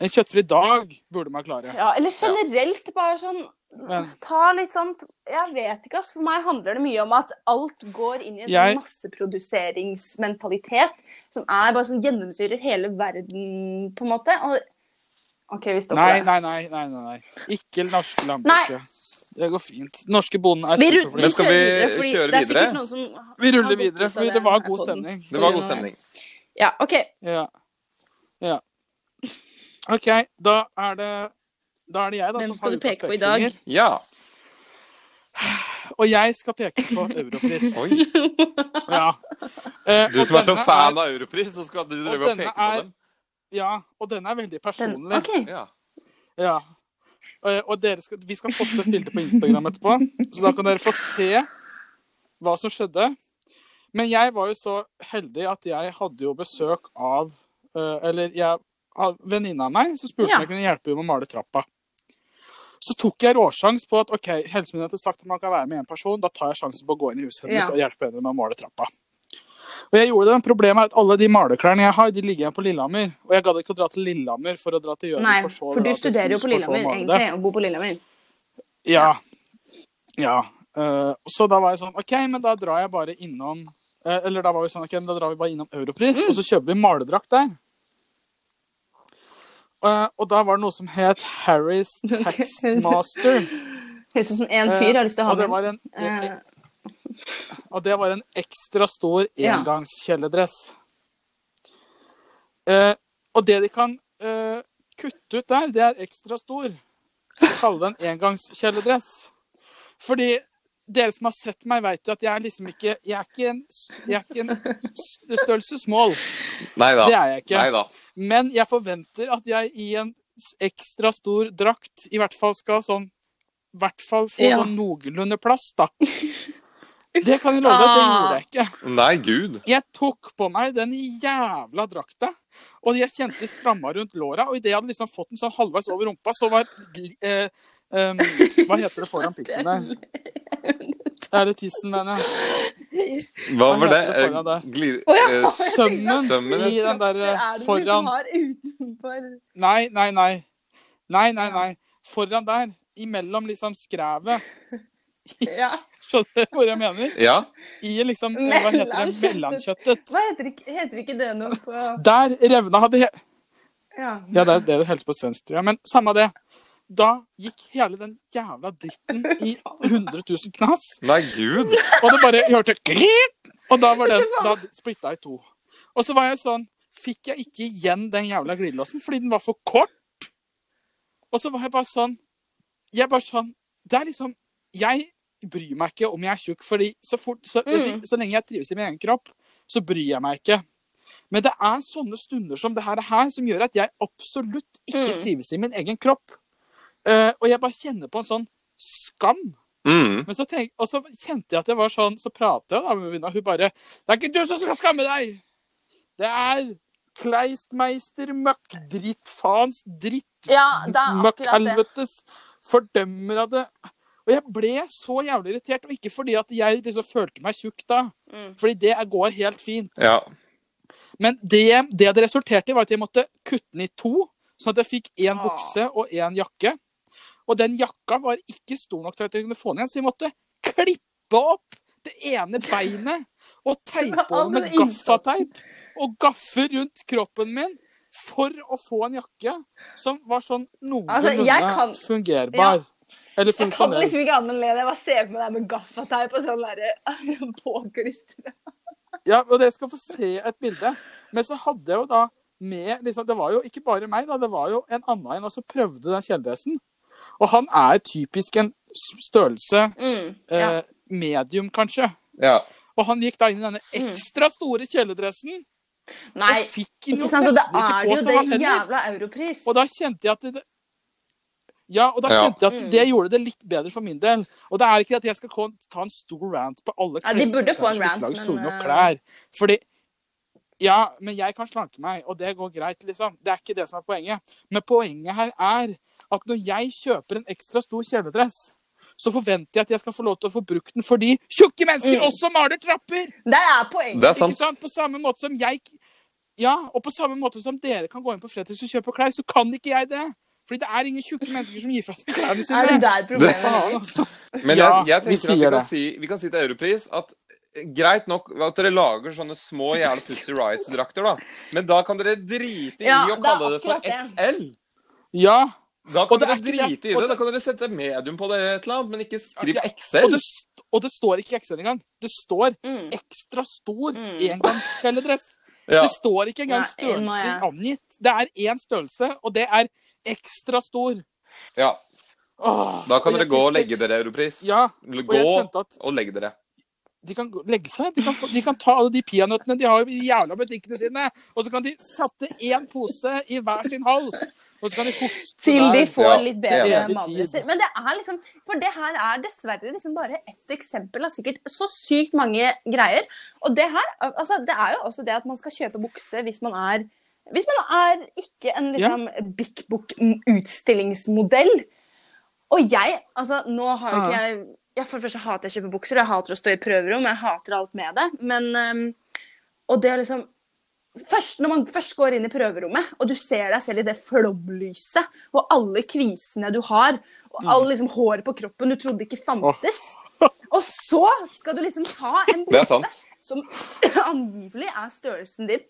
S2: En kjøttfri dag burde man klare.
S5: Ja, eller generelt bare sånn
S2: Men-
S5: Ta litt sånn Jeg vet ikke, ass. For meg handler det mye om at alt går inn i en
S2: Jeg-
S5: sånn masseproduseringsmentalitet som er bare sånn gjennomsyrer hele verden, på en måte. Og OK, vi stopper
S2: Nei, nei,
S5: der.
S2: nei. nei, nei, nei. Ikke det norske
S5: Nei.
S2: landbruket. Det går fint. Den Norske bonden er
S5: Vi, ru-
S2: superflink.
S5: vi
S3: Men skal
S5: kjører
S3: vi
S5: videre, fordi
S3: kjøre
S5: det er
S3: videre?
S5: sikkert noen som
S2: Vi
S5: har
S2: ruller
S5: gått
S2: videre,
S5: ut av
S2: fordi det
S5: den
S2: var
S5: her
S2: god
S5: podden.
S2: stemning.
S3: Det var
S5: På grunn
S3: god
S5: av
S3: stemning.
S5: Ja, OK.
S2: Ja. ja. OK, da er det da er det jeg da,
S5: Hvem
S2: som
S5: skal
S2: har
S5: du peke på i
S2: ukas
S5: dag?
S2: pekefinger.
S3: Ja.
S2: Og jeg skal peke på Europris.
S3: Oi.
S2: Ja. Eh,
S3: Du
S2: og
S3: som er så
S2: denne
S3: fan av Europris, så skal du
S2: Og
S3: drive og
S2: denne
S3: peke på
S2: er-
S3: dem?
S2: Ja, og denne er veldig
S5: Den,
S2: personlig.
S5: OK.
S3: Ja.
S2: Ja. Eh, Og dere skal, vi skal poste et bilde på Instagram etterpå, så da kan dere få se hva som skjedde. Men jeg var jo så heldig at jeg hadde jo besøk av eh, Eller jeg, av venninna av meg som spurte
S5: Ja.
S2: om jeg kunne hjelpe henne med å male trappa. Så tok jeg råsjans på at OK, helsemyndighetene har sagt at man kan være med én person. Da tar jeg sjansen på å gå inn i huset hennes
S5: Ja.
S2: og hjelpe henne med å male trappa. Og jeg gjorde det, men Problemet er at alle de maleklærne jeg har, de ligger igjen på Lillehammer. Og jeg gadd ikke å dra til Lillehammer for å dra til Gjøvik.
S5: Nei,
S2: for så å
S5: for
S2: dra
S5: du
S2: til
S5: studerer jo
S2: Hus
S5: på
S2: for så å
S5: Lillehammer,
S2: male det.
S5: egentlig. Og bor på Lillehammer.
S2: Ja. Ja. eh, så da var jeg sånn OK, men da drar jeg bare innom eh, Eller da var vi sånn OK, men da drar vi bare innom Europris,
S5: Mm.
S2: og så kjøper vi maledrakt der. Eh, og da var det noe som het Harry's Textmaster.
S5: Høres ut som en fyr har lyst til å ha
S2: Eh, og det
S5: med.
S2: var en,
S5: Eh,
S2: og det var en ekstra stor
S5: Ja.
S2: engangskjeledress. Eh, og det de kan eh, kutte ut der, det er ekstra stor. Så kalle det en engangskjeledress. Fordi dere som har sett meg, vet jo at jeg er liksom ikke Jeg er ikke en, jeg er ikke en s- størrelsesmål.
S3: Nei da.
S2: Det er jeg ikke.
S3: Nei da.
S2: Men jeg forventer at jeg i en s- ekstra stor drakt i hvert fall skal sånn I hvert fall få
S5: Ja.
S2: sånn noenlunde plass, da. Det kan jeg love deg, det gjorde jeg ikke.
S3: Nei, gud.
S2: Jeg tok på meg den jævla drakta, og jeg kjente det stramma rundt låra. Og idet jeg hadde liksom fått den sånn halvveis over rumpa, så var eh, em, Hva heter det foran pikken der? Er det tissen, mener jeg?
S3: Hva
S2: Hva
S3: var det?
S2: heter det foran der?
S3: Glid...
S5: Å, ja.
S3: eh, s-
S2: Sømmen
S3: Sømmen,
S2: i den der eh,
S1: liksom
S2: foran
S5: har utenfor
S2: Nei, nei, nei. Nei, nei, nei. Foran der. Imellom liksom skrevet.
S5: Ja.
S2: Skjønner du hvor jeg mener?
S3: Ja.
S2: I liksom eh, Hva heter det?
S5: Mellomkjøttet.
S2: Mellomkjøttet.
S5: Hva heter ikke, heter ikke det noe på
S2: Der revna hadde he
S5: ja.
S2: Ja, det er det det helst på svensk, tror jeg. Men samme det. Da gikk hele den jævla dritten i 100 000 knas.
S3: Nei, gud.
S2: Og det bare jeg hørte krit, Og da var den da splitta i to. Og så var jeg sånn Fikk jeg ikke igjen den jævla glidelåsen fordi den var for kort? Og så var jeg bare sånn Jeg bare sånn Det er liksom Jeg bryr meg ikke om jeg er tjukk, fordi så fort Så,
S5: Mm.
S2: så lenge jeg trives i min egen kropp, så bryr jeg meg ikke. Men det er sånne stunder som det her, her som gjør at jeg absolutt ikke
S5: Mm.
S2: trives i min egen kropp. Eh, og jeg bare kjenner på en sånn skam.
S3: Mm.
S2: Men så tenk, og så kjente jeg at jeg var sånn, så pratet jeg da med venninna, hun bare 'Det er ikke du som skal skamme deg! Det er Kleistmeister møkkdrittfaens dritt
S5: ja, det er akkurat det.
S2: møkkhelvetes fordømmer av det. Og jeg ble så jævlig irritert, og ikke fordi at jeg liksom følte meg tjukk da,
S5: Mm.
S2: fordi det er- går helt fint.
S3: Ja.
S2: Men det det, det resulterte i, var at jeg måtte kutte den i to, sånn at jeg fikk én
S1: Åh.
S2: bukse og én jakke. Og den jakka var ikke stor nok til at jeg kunne få den igjen, så jeg måtte klippe opp det ene beinet og teipe
S5: All
S2: over med
S5: den innsatsen.
S2: gaffateip. Og gaffe rundt kroppen min for å få en jakke som var sånn noenlunde
S5: Altså, jeg kan-
S2: fungerbar. Eller
S5: Jeg kan
S2: funksjonell.
S5: liksom ikke annerledes. Jeg bare ser for meg deg med gaffateip og sånn derre påklistra.
S2: Ja, og dere skal få se et bilde. Men så hadde jeg jo da med liksom, Det var jo ikke bare meg, da. Det var jo en annen en også prøvde den kjeledressen. Og han er typisk en s- størrelse
S5: Mm.
S2: eh, medium, kanskje.
S3: Ja.
S2: Og han gikk da inn i denne ekstra store kjeledressen
S1: Mm. Nei,
S2: og fikk jo
S1: ikke sant? Så det
S2: nesten ikke
S1: er
S2: på
S1: jo
S2: seg
S1: det
S2: heller.
S1: jævla europris.
S2: Og da kjente jeg at det, ja, og da
S3: Ja.
S2: kjente jeg at
S1: Mm.
S2: det gjorde det litt bedre for min del. Og det er ikke at jeg skal kon- ta en stor rant på alle
S1: Ja, de burde få en
S2: klessponsors
S1: rant,
S2: som ikke lager store
S1: men,
S2: nok
S1: eh,
S2: klær. Fordi Ja, men jeg kan slanke meg, og det går greit, liksom. Det er ikke det som er poenget. Men poenget her er at når jeg kjøper en ekstra stor kjeledress, så forventer jeg at jeg skal få lov til å få brukt den fordi tjukke mennesker
S1: Mm.
S2: også maler trapper!
S1: Der er poenget.
S3: Det er
S2: Ikke
S3: sant.
S2: sant? På samme måte som jeg Ja, og på samme måte som dere kan gå inn på Fretex og kjøpe klær, så kan ikke jeg det. Fordi det er ingen tjukke mennesker som gir fra seg klærne sine.
S1: Er det der problemet ligger?
S3: Men
S2: Ja,
S3: jeg, jeg
S2: vi
S3: tenker at vi
S2: sier
S3: kan,
S2: det.
S3: si, vi kan si til Europris at eh, Greit nok at dere lager sånne små jævla Sister Rights-drakter, da. Men da kan dere drite i
S1: Ja,
S3: å
S1: det er
S3: kalle det for
S1: akkurat det.
S3: XL.
S2: Ja,
S3: Da
S2: Og
S3: kan
S2: det er ikke
S3: dere
S2: det.
S3: drite i
S2: Og
S3: det. Da
S2: det-
S3: kan dere sette medium på det et eller annet, men ikke skriv
S2: Ja, og
S3: XL.
S2: det, st- og det står ikke XL engang. Det står
S1: Mm.
S2: ekstra stor
S1: Mm.
S2: engangskjeledress.
S3: Ja.
S2: Det står ikke
S1: Nei, nå
S2: engang
S1: er
S2: størrelse
S1: jeg-
S2: angitt. Det er én størrelse, og det er ekstra stor.
S3: ja.
S2: Åh,
S3: Da kan
S2: og
S3: dere
S2: jeg
S3: gå og
S2: fikk-
S3: legge dere, Europris.
S2: Ja, og
S3: Gå
S2: jeg skjønte at
S3: og legge dere.
S2: de kan gå- legge seg. De kan, få, de kan ta alle de peanøttene de har i de jævla butikkene sine, og så kan de sette én pose i hver sin hals. Og så kan de koste
S1: Til de
S2: der.
S1: får
S3: Ja,
S1: litt
S3: det
S1: bedre
S2: er det.
S1: mageresser. Men det er liksom For det her er dessverre liksom bare ett eksempel av sikkert så sykt mange greier. Og det her Altså, det er jo også det at man skal kjøpe bukse hvis man er Hvis man er ikke en liksom Big Book-utstillingsmodell. Og jeg Altså, nå har jo ikke jeg jeg For det første hater jeg å kjøpe bukser, jeg hater å stå i prøverom, jeg hater alt med det. Men øhm, Og det å liksom først, når man først går inn i prøverommet, og du ser deg selv i det flomlyset, og alle kvisene du har,
S3: Mm.
S1: og alle liksom håret på kroppen du trodde ikke fantes, og så skal du liksom ta en
S3: Det er
S1: bukse
S3: sant.
S1: som angivelig er størrelsen din,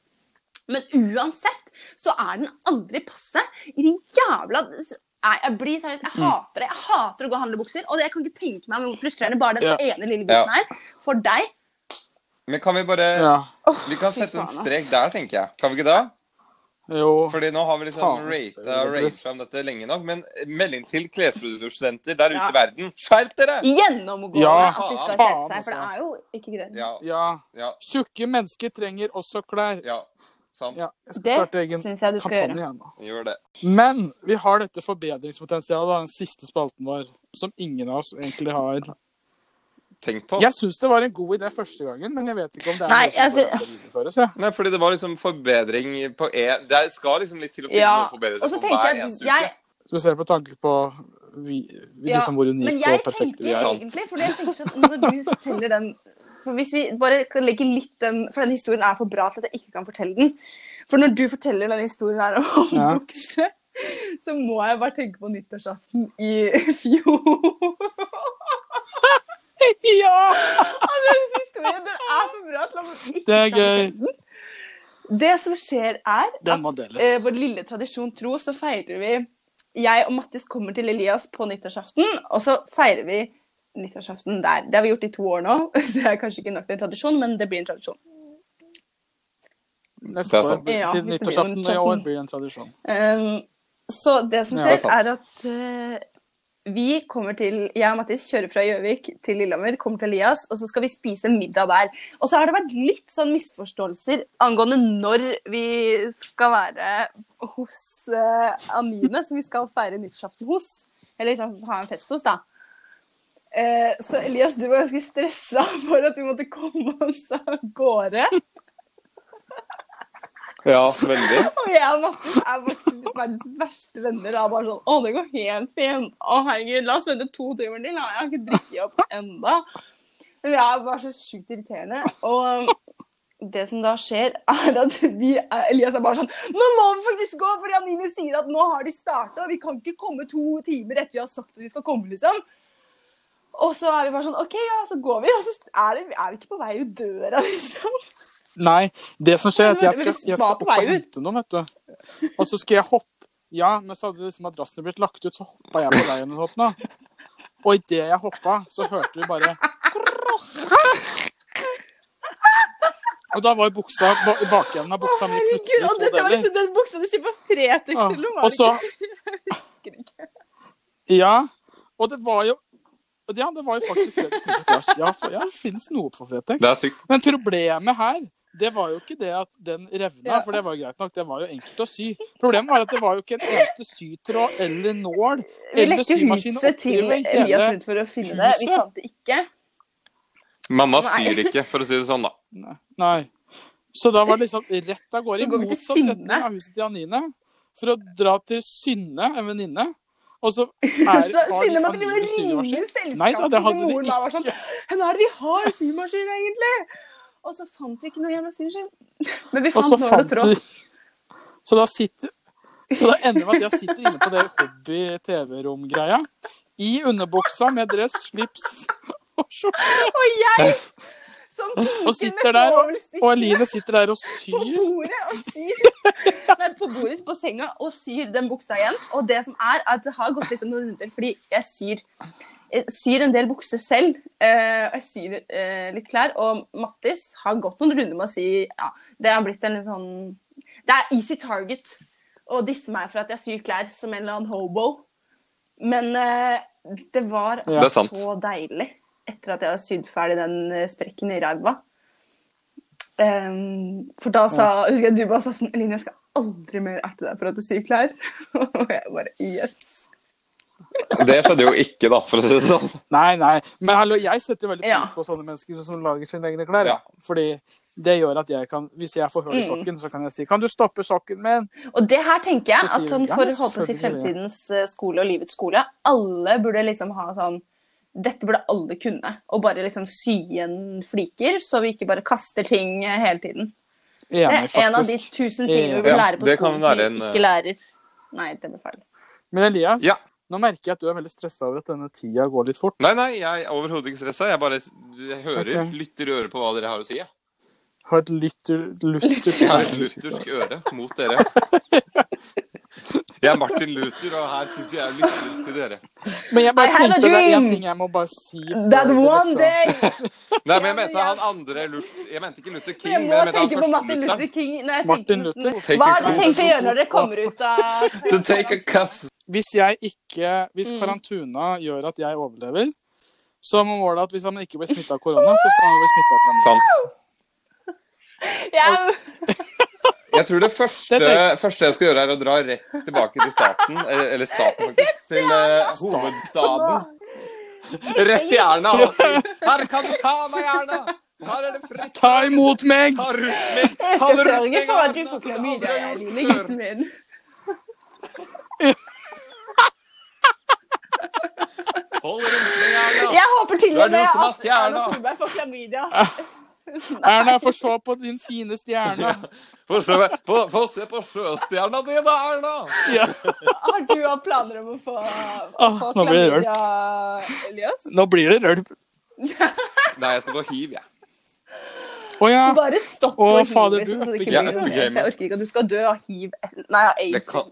S1: men uansett så er den aldri passe i de jævla Nei, jeg blir seriøst,
S3: Mm.
S1: jeg hater det. Jeg hater å gå og handle bukser. Og jeg kan ikke tenke meg hvor frustrerende bare den
S2: Ja.
S1: ene lille
S3: Ja.
S1: gutten er for deg.
S3: Men kan vi bare
S2: Ja.
S3: Vi kan
S1: fy
S3: sette en
S1: faen, ass.
S3: strek der, tenker jeg. Kan vi ikke det?
S2: Jo.
S3: Fordi nå har vi liksom
S2: Faen,
S3: rata
S2: spør du.
S3: rata om dette lenge nok. Men eh, melding til klesprodusenter der ute
S1: Ja.
S3: i verden. Skjerp dere!
S1: Gjennomgående
S2: Ja,
S1: at de skal
S2: faen,
S1: skjerpe seg, for det
S2: altså.
S1: er jo ikke greit.
S3: Ja,
S2: Ja.
S3: ja,
S2: Tjukke mennesker trenger også klær.
S3: ja. Sant.
S2: Ja, jeg skal starte
S1: Det
S2: egen
S1: syns jeg du skal gjøre.
S2: kampanje igjen nå.
S3: Gjør det.
S2: Men vi har dette forbedringspotensialet, da, den siste spalten vår, som ingen av oss egentlig har.
S3: Tenk på.
S2: Jeg syns det var en god idé første gangen, men jeg vet ikke om det er
S1: Nei, altså-
S2: noe som
S1: jeg
S2: bør videreføres. Ja.
S3: Nei, fordi det var liksom forbedring på E. Det skal liksom litt til å finne
S1: Ja.
S3: noe forbedring
S1: Og så
S3: på
S1: tenker
S3: hver
S1: jeg, at
S3: eneste uke.
S1: jeg
S2: Spesielt med tanke på vi, vi,
S1: Ja,
S2: liksom hvor
S1: Men
S2: unike
S1: jeg
S2: og perfekte
S1: tenker
S2: vi er.
S3: Sant.
S1: egentlig, for jeg tenker sånn når du forteller den for Hvis vi bare kan legge litt den For den historien er for bra til at jeg ikke kan fortelle den. For når du forteller den historien her om
S2: Ja.
S1: bukse, så må jeg bare tenke på nyttårsaften i fjor.
S2: Ja!
S1: Ja, Den historien den er for bra til at man ikke
S2: Det er
S1: kan
S2: gøy.
S1: fortelle den. Det som skjer, er
S2: Den må deles.
S1: eh, vår lille tradisjon tro, så feirer vi Jeg og Mattis kommer til Elias på nyttårsaften, og så feirer vi nyttårsaften der. Det har vi gjort i to år nå. Det er kanskje ikke nok til en tradisjon, men det blir en tradisjon.
S2: Neste
S3: Det er sånn-
S2: år
S3: sant.
S1: Ja, hvis
S2: til
S1: det blir en
S2: nyttårsaften i år
S1: sånn.
S2: blir en tradisjon.
S1: Ehm, så det som
S2: Ja,
S1: skjer,
S3: det er
S1: er, at eh, vi kommer til Jeg og Mattis kjører fra Gjøvik til Lillehammer, kommer til Elias, og så skal vi spise middag der. Og så har det vært litt sånn misforståelser angående når vi skal være hos eh, Anine, som vi skal feire nyttårsaften hos. Eller liksom ha en fest hos, da. Eh, så Elias, du var ganske stressa for at vi måtte komme oss av gårde.
S3: Ja, veldig.
S1: Og jeg og Mattis er våre verdens verste venner. Da. Bare sånn, å, det går helt fint. Å, herregud, la oss vente to timer til. da. Jeg har ikke drukket opp enda. Men Vi er bare så sjukt irriterende. Og det som da skjer, er at vi, Elias er bare sånn Nå må vi faktisk gå, fordi Anine sier at nå har de starta, og vi kan ikke komme to timer etter vi har sagt at vi skal komme, liksom. Og så er vi bare sånn OK, ja, så går vi. Og så er, det, er vi ikke på vei ut døra, liksom.
S2: Nei, det som skjer er at jeg skal,
S1: Men
S2: jeg skal
S1: var
S2: opp
S1: på
S2: og
S1: vei ut.
S2: hente noe, vet du. Og så skal jeg hoppe. Ja, men så hadde liksom madrassen blitt lagt ut, så hoppa jeg på deg under hoppen da. Og idet jeg hoppa, så hørte vi bare Og da var jo buksa, ba- bakenden av buksa mi
S1: Herregud,
S2: plutselig
S1: og
S2: i to
S1: dette var
S2: deler.
S1: liksom den buksa du kjøpte på Fretex,
S2: Ja,
S1: eller
S2: og
S1: var det
S2: så-
S1: ikke? Jeg husker ikke.
S2: Ja, og det var jo ja, det var jo faktisk Fretex. Ja, for, ja, det finnes noe på Fretex.
S3: Det er sykt.
S2: Men problemet her det var jo ikke det at den revna,
S1: Ja.
S2: for det var jo greit nok. Det var jo enkelt å sy. Problemet var at det var jo ikke en eneste sytråd eller nål
S1: Vi
S2: eller
S1: lekte
S2: symaskin
S1: huset
S2: oppi
S1: til
S2: hele
S1: Elias rundt for å finne det. Vi
S2: huset.
S1: fant det ikke.
S3: Mamma
S1: Nei.
S3: syr ikke, for å si det sånn, da.
S2: Nei. Nei. Så da var det liksom rett av gårde
S1: Så
S2: i
S1: går vi til
S2: motsatt
S1: Synne.
S2: retning av huset til Anine for å dra til Synne, en venninne. Og så er,
S1: Så Synne måtte drive og
S2: Anine symaskin.
S1: ringe
S2: Nei da,
S1: selskapet
S2: det
S1: til
S2: hadde de
S1: moren. Da var sånn Hva er det vi har symaskin, egentlig? Og så fant vi ikke noe jævla symaskin. Men vi
S2: Og så
S1: fant nål og
S2: fant
S1: tråd.
S2: du Så da sitter Så da ender det med at jeg sitter inne på det hobby-TV-rom-greia. I underbuksa med dress, slips og skjorte.
S1: Og jeg som
S2: Og
S1: piken med
S2: sitter der, og- Og
S1: svovelstikker
S2: Eline sitter der og
S1: på
S2: syr.
S1: bordet og syr Nei, på bordet, på senga, og syr den buksa igjen. Og det som er, er at det har gått liksom noen runder, fordi jeg syr jeg syr en del bukser selv. eh, og jeg syr eh, litt klær. Og Mattis har gått noen runder med å si ja, det har blitt en litt sånn Det er easy target å disse meg for at jeg syr klær som en eller annen hobo. Men eh, det var
S2: Ja.
S3: Det er sant.
S1: så deilig etter at jeg hadde sydd ferdig den eh, sprekken i ræva. Ehm, for da sa husker jeg du bare sa sånn Eline, jeg skal aldri mer erte deg for at du syr klær. og jeg bare yes.
S3: Det skjedde jo ikke, da, for å si det sånn.
S2: Nei, nei. Men hallo, jeg setter veldig
S1: Ja.
S2: pris på sånne mennesker som lager sine egne klær.
S3: Ja.
S2: Fordi det gjør at jeg kan Hvis jeg får hull i
S1: Mm.
S2: sokken, så kan jeg si Kan du stoppe sokken min?
S1: Og det her tenker jeg
S2: Så sier
S1: at sånn
S2: vi, ja,
S1: for
S2: men
S1: holdt på å si
S2: selvfølgelig.
S1: fremtidens eh, skole og livets skole, alle burde liksom ha sånn Dette burde alle kunne. Og bare liksom sy igjen fliker, så vi ikke bare kaster ting eh, hele tiden. Det
S2: Enig,
S1: er en av de
S2: faktisk.
S1: tusen tingene vi
S3: Ja,
S1: vil lære på
S3: det kan
S1: skolen som vi
S3: være en, eh,
S1: ikke lærer. Nei, det ble feil.
S2: Men Elias,
S3: Ja.
S2: nå merker jeg at du er veldig stressa over at denne tida går litt fort.
S3: Nei, nei, jeg er overhodet ikke stressa. Jeg bare s- jeg hører,
S2: Ok.
S3: lytter øret på hva dere har å si. Jeg,
S2: Har et lutter...
S3: jeg har et
S2: lutter...
S3: luthersk øre mot dere. Jeg er Martin Luther, og her sitter jeg og lytter til dere.
S2: Men
S1: I
S2: jeg bare
S1: had a
S2: tenkte det er én
S1: dream.
S2: ting jeg må bare si før
S1: That
S2: det
S1: one
S2: liksom-
S1: day!
S3: Nei, men jeg
S1: Ja, men
S3: mente
S1: jeg-
S3: han andre Luther Jeg mente ikke Luther King,
S1: Jeg
S3: men
S1: må
S3: jeg mente han
S1: tenke på
S3: første
S1: Martin
S3: Lutheren.
S1: Luther King. Nei, jeg
S2: Martin
S1: tenker
S2: Luther?
S1: nesten-
S3: Take
S1: Hva
S3: a
S1: har dere
S3: cuss.
S1: tenkt å gjøre når dere kommer ut av
S3: To take a cuss.
S2: Hvis jeg ikke Hvis
S1: Mm.
S2: karantuna gjør at jeg overlever, så må målet at hvis han ikke blir smitta av korona, så skal han bli smitta av korona.
S3: Sant.
S1: Jeg-
S3: Jeg tror det første,
S2: Det tenker-
S3: første jeg skal gjøre, er å dra rett tilbake til staten. eh, Eller staten, faktisk. Til eh, hovedstaden. Rett i Erna. og si, Her kan du ta meg, Erna! Her er det fritt.
S2: Ta imot meg!
S3: Ta rundt meg.
S1: Jeg skal
S3: Hallo,
S1: sørge
S3: Rødtning
S1: for at du
S3: Arne,
S1: får
S3: som du
S1: klamydia,
S3: aldri har gjort
S1: lille
S3: før.
S1: gutten min.
S3: Hold rundt meg, Erna.
S1: Jeg håper til
S3: Du er
S1: og med
S3: du som har
S1: at
S3: stjerna.
S1: Erna Solberg får klamydia.
S2: Erna, få se på din fine stjerne.
S3: Få se på- få se på sjøstjerna di, da, Erna.
S2: Ja.
S1: Har du hatt planer om å få,
S2: Åh,
S1: få
S2: nå blir jeg
S1: klamydia, Elias?
S2: Nå blir det rølp.
S3: Nei, jeg skal få hiv, jeg.
S2: Å ja.
S1: Bare stopp
S2: Åh,
S1: hiv,
S2: fader,
S1: liksom,
S2: du
S1: så det ikke
S3: er
S1: blir noe
S3: epic
S1: mer, for
S3: gamer.
S1: Jeg orker ikke at du skal dø av hiv. Nei, av
S3: Det
S1: aids.
S3: kan...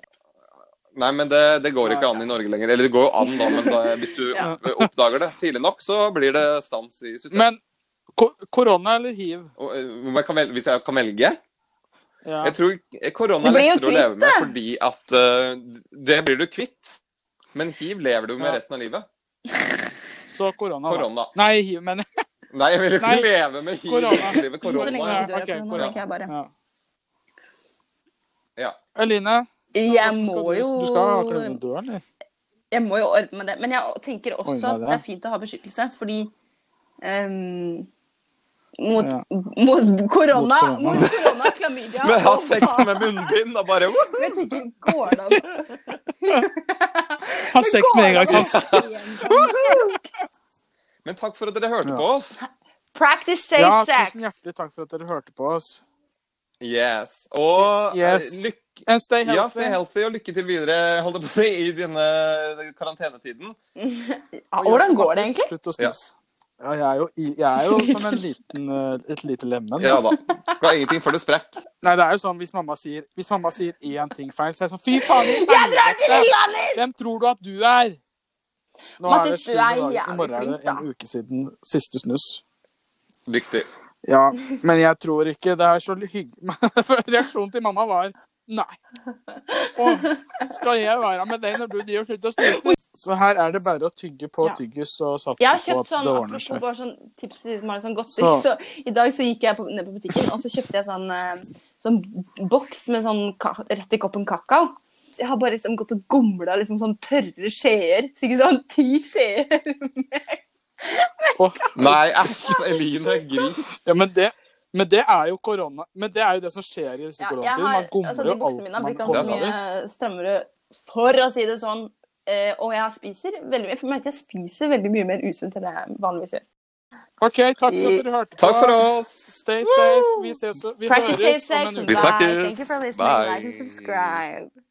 S3: Nei, men det, det går ikke an i Norge lenger. Eller det går jo an, da, men da, hvis du
S1: Ja.
S3: oppdager det tidlig nok, så blir det stans i systemet.
S2: Men ko- korona eller hiv?
S3: Og, eh, jeg kan velge, hvis jeg kan velge?
S2: Ja.
S3: Jeg tror korona
S1: Du
S3: er
S1: blir jo
S3: lettere å
S1: kvitt
S3: leve med fordi at eh, Det blir du kvitt. Men hiv lever du
S2: Ja.
S3: med resten av livet.
S2: Så korona. da.
S3: Korona.
S2: Nei, hiv, mener jeg.
S3: Nei, jeg vil jo ikke
S2: Nei.
S3: leve med hiv
S2: Korona.
S3: resten av livet.
S1: Så lenge du
S2: Ja,
S3: Korona.
S1: dør av
S2: ok,
S1: korona,
S3: korona.
S1: tenker jeg bare.
S2: Ja.
S3: Ja.
S2: Eline,
S1: Jeg
S2: skal
S1: må
S2: du,
S1: jo
S2: du skal akkurat begynne å dø, eller?
S1: jeg må jo ordne med det. Men jeg tenker også
S2: Ordne
S1: at
S2: det.
S1: det er fint å ha beskyttelse, fordi ehm, mot,
S2: Ja.
S1: mot korona,
S2: korona.
S1: mot korona, klamydia
S3: Men ha
S1: og
S3: sex med munnbind og bare whoop!
S1: Jeg tenker, går det an?
S2: Ha sex med en gang, sant?
S3: Men takk for at dere hørte
S2: Ja.
S3: på oss.
S1: Practice safe
S2: Ja,
S1: sex.
S2: tusen hjertelig takk for at dere hørte på oss.
S3: Yes. Og eh,
S2: Yes.
S3: lykke
S2: And stay
S3: Ja, stay
S2: healthy.
S3: healthy og lykke til videre holdt jeg på å si, i denne karantenetiden.
S1: Ja, hvordan går det egentlig?
S2: Slutt å snus. Ja, jeg er jo, i- jeg er jo som en liten, eh, et lite lemen.
S3: Ja da. Skal ingenting før det sprekk.
S2: Nei, det er jo sånn hvis mamma sier, hvis mamma sier én ting feil, så er jeg sånn Fy faen! i
S1: Jeg drar til
S2: helvete!
S1: Lillehammer!
S2: Hvem tror du at du er? Nå
S1: Mattis,
S2: er det
S1: du
S2: sju
S1: er
S2: dager. I
S1: jævlig
S2: morgen er
S1: flink,
S2: det en
S1: da.
S2: uke siden siste snus.
S3: Dyktig.
S2: Ja, men jeg tror ikke det er så hyggelig Reaksjonen til mamma var Nei. Og skal jeg være med deg når du driver og slutter å snuse? Så her er det bare å tygge på
S1: Ja.
S2: tyggis og satse
S1: Jeg har
S2: på
S1: kjøpt
S2: at
S1: sånn,
S2: det ordner
S1: apropos
S2: seg.
S1: bare sånn tips til de som har det sånn godt
S2: Så-
S1: så. så I dag så gikk jeg på, ned på butikken, og så kjøpte jeg sånn, eh, sånn boks med sånn ka rett i koppen kakao. Så jeg har bare liksom gått og gomla liksom sånn tørre skjeer. Sikkert sånn ti skjeer.
S3: Nei, æsj, Eline, gris.
S2: Ja, men det, men det er jo korona. Men det er jo det som skjer i disse
S1: Ja, jeg
S2: koronatider.
S1: har,
S2: Man gomler
S1: altså,
S2: jo
S1: de buksene
S2: alt
S1: mine har
S2: man
S1: blitt ganske
S2: kommer over.
S1: mye strammere, for å si det sånn. Eh, og jeg spiser veldig mye. For jeg merker jeg spiser veldig mye mer usunt enn jeg vanligvis gjør.
S2: OK, takk for at dere hørte på.
S3: Takk for oss.
S2: Stay safe. Vi ses og vi
S1: Practice safe
S2: høres om
S1: sex.
S2: en
S1: and
S2: uke.
S3: Vi
S1: Bye.
S3: snakkes.
S1: Thank you for listening.
S3: Bye.
S1: Like and subscribe.